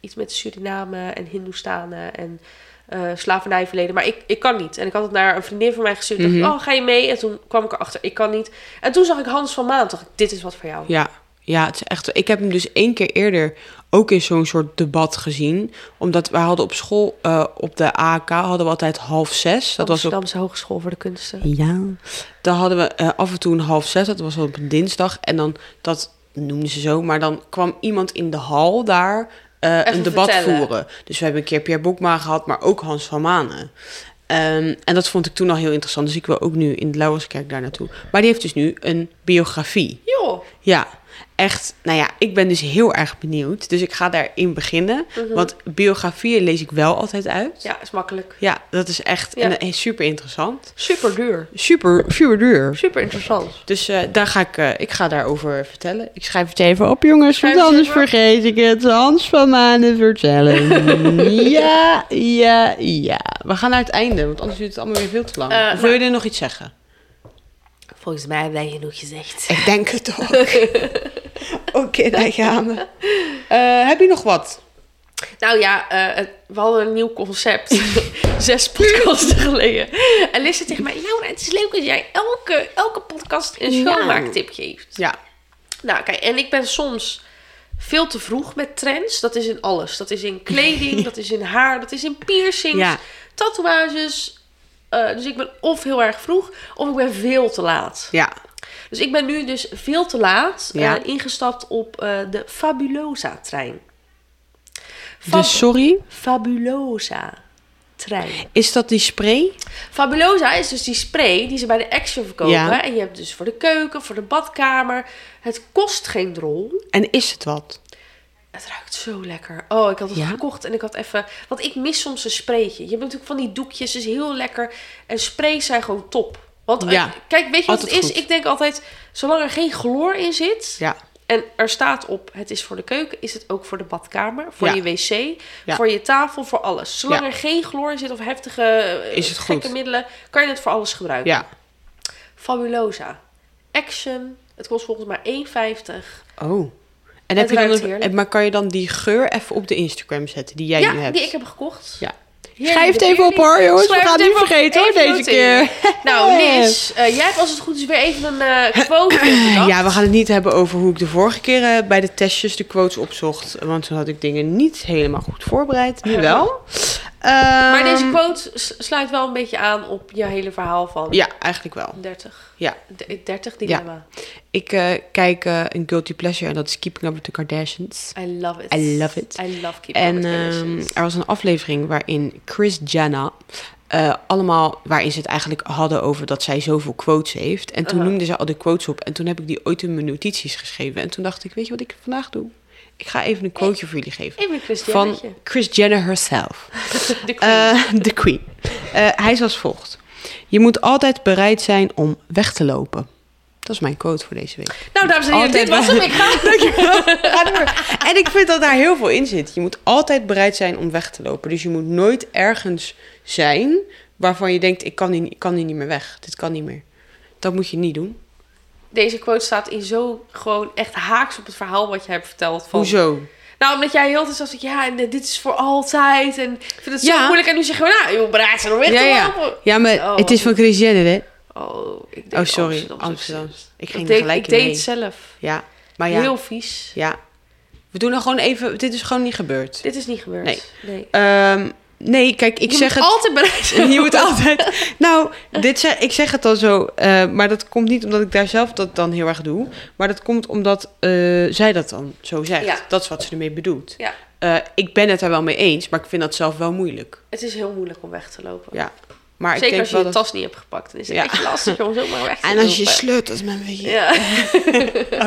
Speaker 4: iets met Suriname en Hindoestanen en eh, slavernijverleden. Maar ik, ik kan niet. En ik had het naar een vriendin van mij gestuurd. Ik dacht,
Speaker 3: Mhm.
Speaker 4: oh, ga je mee? En toen kwam ik erachter, ik kan niet. En toen zag ik Hans van Maan. dacht ik, dit is wat voor jou.
Speaker 3: Ja, ja, het is echt. Ik heb hem dus één keer eerder ook in zo'n soort debat gezien. Omdat wij hadden op school, eh, op de AK hadden we altijd half zes. Dat was ook.
Speaker 4: Amsterdamse Hogeschool voor de Kunsten.
Speaker 3: Ja. Daar hadden we eh, af en toe een half zes. Dat was op een dinsdag. En dan, dat noemden ze zo. Maar dan kwam iemand in de hal daar eh, een debat
Speaker 4: vertellen.
Speaker 3: voeren. Dus we hebben een keer Pierre Bokma gehad, maar ook Hans van Manen. Ehm, en dat vond ik toen al heel interessant. Dus ik wil ook nu in de Lauwerskerk daar naartoe. Maar die heeft dus nu een biografie.
Speaker 4: Joh,
Speaker 3: Ja, echt. Nou ja, ik ben dus heel erg benieuwd. Dus ik ga daarin beginnen. Want biografieën lees ik wel altijd uit. Ja,
Speaker 4: Mm. ja, is makkelijk.
Speaker 3: dat is echt
Speaker 4: Ja.
Speaker 3: en, eh, super interessant.
Speaker 4: Super duur.
Speaker 3: Super, super duur.
Speaker 4: Super interessant.
Speaker 3: Dus eh, daar ga ik, eh, ik ga daarover vertellen. Ik schrijf het even op, jongens.
Speaker 4: Schrijf
Speaker 3: Want
Speaker 4: het
Speaker 3: anders
Speaker 4: even op.
Speaker 3: vergeet ik het. Hans van Manen vertellen. ja, ja, ja. We gaan naar het einde, want anders duurt het allemaal weer veel te lang.
Speaker 4: Eh,
Speaker 3: of wil je er nog iets zeggen?
Speaker 4: Volgens mij hebben wij genoeg gezegd.
Speaker 3: Ik denk het toch. Oké, daar gaan we. Eh, heb je nog wat?
Speaker 4: Nou ja, eh, het- we hadden een nieuw concept. Zes podcasts geleden. En Liz zei tegen mij... Laura, het is leuk dat jij elke, elke podcast een
Speaker 3: Ja.
Speaker 4: schoonmaaktip geeft.
Speaker 3: Ja,
Speaker 4: Nou, kijk, en ik ben soms veel te vroeg met trends. Dat is in alles. Dat is in kleding, dat is in haar, dat is in piercings,
Speaker 3: Ja.
Speaker 4: tatoeages. Eh, dus ik ben of heel erg vroeg, of ik ben veel te laat.
Speaker 3: ja.
Speaker 4: Dus ik ben nu dus veel te laat eh,
Speaker 3: Ja.
Speaker 4: ingestapt op eh, de Fabulosa-trein. Fab-
Speaker 3: Dus sorry,
Speaker 4: Fabulosa-trein.
Speaker 3: is dat die spray?
Speaker 4: Fabulosa is dus die spray die ze bij de Action verkopen.
Speaker 3: Ja.
Speaker 4: En je hebt dus voor de keuken, voor de badkamer. Het kost geen drol.
Speaker 3: En is het wat?
Speaker 4: Het ruikt zo lekker. Oh, ik had het
Speaker 3: Ja?
Speaker 4: gekocht en ik had even... Want ik mis soms een spraytje. Je hebt natuurlijk van die doekjes, dus heel lekker. En sprays zijn gewoon top. Want eh,
Speaker 3: Ja,
Speaker 4: kijk, weet je wat het is?
Speaker 3: altijd goed.
Speaker 4: Ik denk altijd, zolang er geen chloor in zit...
Speaker 3: Ja.
Speaker 4: En er staat op, het is voor de keuken, is het ook voor de badkamer, voor
Speaker 3: Ja.
Speaker 4: je wc,
Speaker 3: Ja.
Speaker 4: voor je tafel, voor alles. Zolang
Speaker 3: Ja.
Speaker 4: er geen chloor in zit of heftige eh,
Speaker 3: Is het
Speaker 4: gekke
Speaker 3: goed.
Speaker 4: middelen, kan je het voor alles gebruiken.
Speaker 3: Ja.
Speaker 4: Fabulosa. Action. Het kost volgens mij 1,50.
Speaker 3: Oh. En heb je dan
Speaker 4: ruikt
Speaker 3: een-
Speaker 4: heerlijk.
Speaker 3: maar kan je dan die geur even op de Instagram zetten die jij
Speaker 4: ja,
Speaker 3: nu hebt?
Speaker 4: die ik heb gekocht.
Speaker 3: Ja.
Speaker 4: Heerlijk,
Speaker 3: Schrijf het
Speaker 4: de
Speaker 3: even op
Speaker 4: heerlijk.
Speaker 3: hoor, jongens.
Speaker 4: Schrijf
Speaker 3: We gaan
Speaker 4: het
Speaker 3: het niet
Speaker 4: even op.
Speaker 3: vergeten hoor,
Speaker 4: Even
Speaker 3: deze
Speaker 4: noteren.
Speaker 3: keer.
Speaker 4: Nou, Liz, eh, jij hebt als het goed is weer even een eh quote bedacht.
Speaker 3: Ja, we gaan het niet hebben over hoe ik de vorige keer eh, bij de testjes de quotes opzocht. Want toen had ik dingen niet helemaal goed voorbereid. Nu wel.
Speaker 4: Maar deze
Speaker 3: Ehm,
Speaker 4: quote s- sluit wel een beetje aan op je hele verhaal van
Speaker 3: Ja, eigenlijk wel.
Speaker 4: 30.
Speaker 3: Ja.
Speaker 4: D- 30 dilemma.
Speaker 3: Ik eh, kijk eh, een guilty pleasure en dat is Keeping Up With The Kardashians.
Speaker 4: I love it.
Speaker 3: I love it.
Speaker 4: I love keeping
Speaker 3: En
Speaker 4: up with
Speaker 3: ehm,
Speaker 4: Kardashians.
Speaker 3: er was een aflevering waarin Chris Jenner eh, allemaal, waarin ze het eigenlijk hadden over dat zij zoveel quotes heeft. En toen
Speaker 4: Aha.
Speaker 3: noemde ze al de quotes op. En toen heb ik die ooit in mijn notities geschreven. En toen dacht ik, weet je wat ik vandaag doe? Ik ga even een quoteje voor jullie geven.
Speaker 4: Even een
Speaker 3: Van
Speaker 4: Christianetje.
Speaker 3: Chris Jenner herself.
Speaker 4: De queen.
Speaker 3: Eh, De queen. Eh, hij is als volgt. Je moet altijd bereid zijn om weg te lopen. Dat is mijn quote voor deze week.
Speaker 4: nou, dames en heren, dit was
Speaker 3: altijd
Speaker 4: hem. Ik ga.
Speaker 3: Ga door. En ik vind dat daar heel veel in zit. Je moet altijd bereid zijn om weg te lopen. Dus je moet nooit ergens zijn waarvan je denkt: ik kan hier, ik kan hier niet meer weg. Dit kan niet meer. Dat moet je niet doen.
Speaker 4: Deze quote staat in zo gewoon echt haaks op het verhaal wat je hebt verteld. Van,
Speaker 3: Hoezo?
Speaker 4: Nou, omdat jij heel de tijd zegt, ja, en eh, dit is voor altijd. En ik vind het zo
Speaker 3: Ja.
Speaker 4: moeilijk. En nu zeg je, nou, je moet bereid zijn om weg te
Speaker 3: Ja, ja.
Speaker 4: lopen.
Speaker 3: ja, maar
Speaker 4: Oh,
Speaker 3: het is van Chris Jenner, hè?
Speaker 4: Oh, ik deed
Speaker 3: Oh, sorry.
Speaker 4: Amsterdamse
Speaker 3: Amsterdam.
Speaker 4: accent.
Speaker 3: Ik
Speaker 4: Ik
Speaker 3: ging er
Speaker 4: deed,
Speaker 3: gelijk
Speaker 4: ik
Speaker 3: in
Speaker 4: deed
Speaker 3: mee.
Speaker 4: het zelf.
Speaker 3: Ja, maar ja.
Speaker 4: Heel vies.
Speaker 3: ja. We doen er gewoon even. Dit is gewoon niet gebeurd.
Speaker 4: Dit is niet gebeurd.
Speaker 3: Nee.
Speaker 4: nee.
Speaker 3: Ehm, nee, kijk, ik
Speaker 4: je
Speaker 3: zeg
Speaker 4: moet
Speaker 3: het...
Speaker 4: altijd bereid
Speaker 3: Je moet altijd... Nou, dit zeg, ik zeg het dan zo, eh, maar dat komt niet omdat ik daar zelf dat dan heel erg doe. Maar dat komt omdat eh, zij dat dan zo zegt.
Speaker 4: Ja.
Speaker 3: Dat is wat ze ermee bedoelt.
Speaker 4: Ja.
Speaker 3: Eh, ik ben het daar wel mee eens, maar ik vind dat zelf wel moeilijk.
Speaker 4: Het is heel moeilijk om weg te lopen.
Speaker 3: Ja. Maar ik
Speaker 4: Zeker
Speaker 3: denk
Speaker 4: als je
Speaker 3: wel
Speaker 4: je
Speaker 3: dat-
Speaker 4: tas niet hebt gepakt. Dan is het
Speaker 3: Ja.
Speaker 4: echt lastig om zomaar weg te
Speaker 3: En als je
Speaker 4: lopen.
Speaker 3: sleurt, dat is mijn beetje...
Speaker 4: Ja.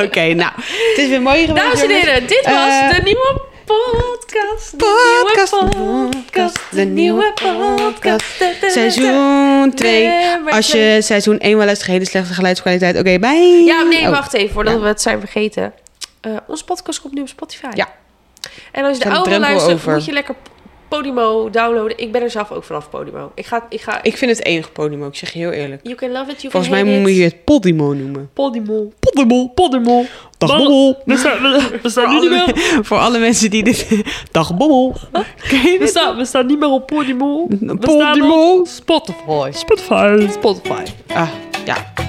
Speaker 3: Oké, nou. Het is weer mooi geweest.
Speaker 4: Dames en
Speaker 3: jongens.
Speaker 4: heren, dit was
Speaker 3: Eh,
Speaker 4: de nieuwe podcast.
Speaker 3: Podcast,
Speaker 4: de nieuwe podcast. De nieuwe podcast. Da, da, da, da.
Speaker 3: Seizoen 2.
Speaker 4: Nummer
Speaker 3: Als
Speaker 4: eh, twee.
Speaker 3: je seizoen 1 wel eens hele slechte geluidskwaliteit. Oké, bye.
Speaker 4: Ja, nee,
Speaker 3: Oh,
Speaker 4: wacht even, voordat
Speaker 3: Ja.
Speaker 4: we het zijn vergeten. Eh onze podcast komt nu op Spotify.
Speaker 3: Ja.
Speaker 4: En als je de
Speaker 3: Zijn
Speaker 4: oude
Speaker 3: drempel
Speaker 4: luistert,
Speaker 3: over.
Speaker 4: moet je lekker Podimo downloaden. Ik ben er zelf ook vanaf Podimo. Ik ga, ik ga,
Speaker 3: Ik vind het enige podium, ik zeg je heel eerlijk.
Speaker 4: you can love it, you
Speaker 3: Volgens
Speaker 4: can
Speaker 3: mij
Speaker 4: hate
Speaker 3: moet
Speaker 4: it.
Speaker 3: je het Podimo noemen.
Speaker 4: Podimo.
Speaker 3: Podimo.
Speaker 4: Podimo.
Speaker 3: Dag
Speaker 4: Maar-
Speaker 3: Bommel.
Speaker 4: We staan, we, we staan
Speaker 3: Voor alle, voor alle mensen die dit... Dag Bommel. Ken je dit?
Speaker 4: staan, we staan niet meer op Podimo.
Speaker 3: Podimo.
Speaker 4: Spotify. Spotify. Spotify.
Speaker 3: Ah, ja.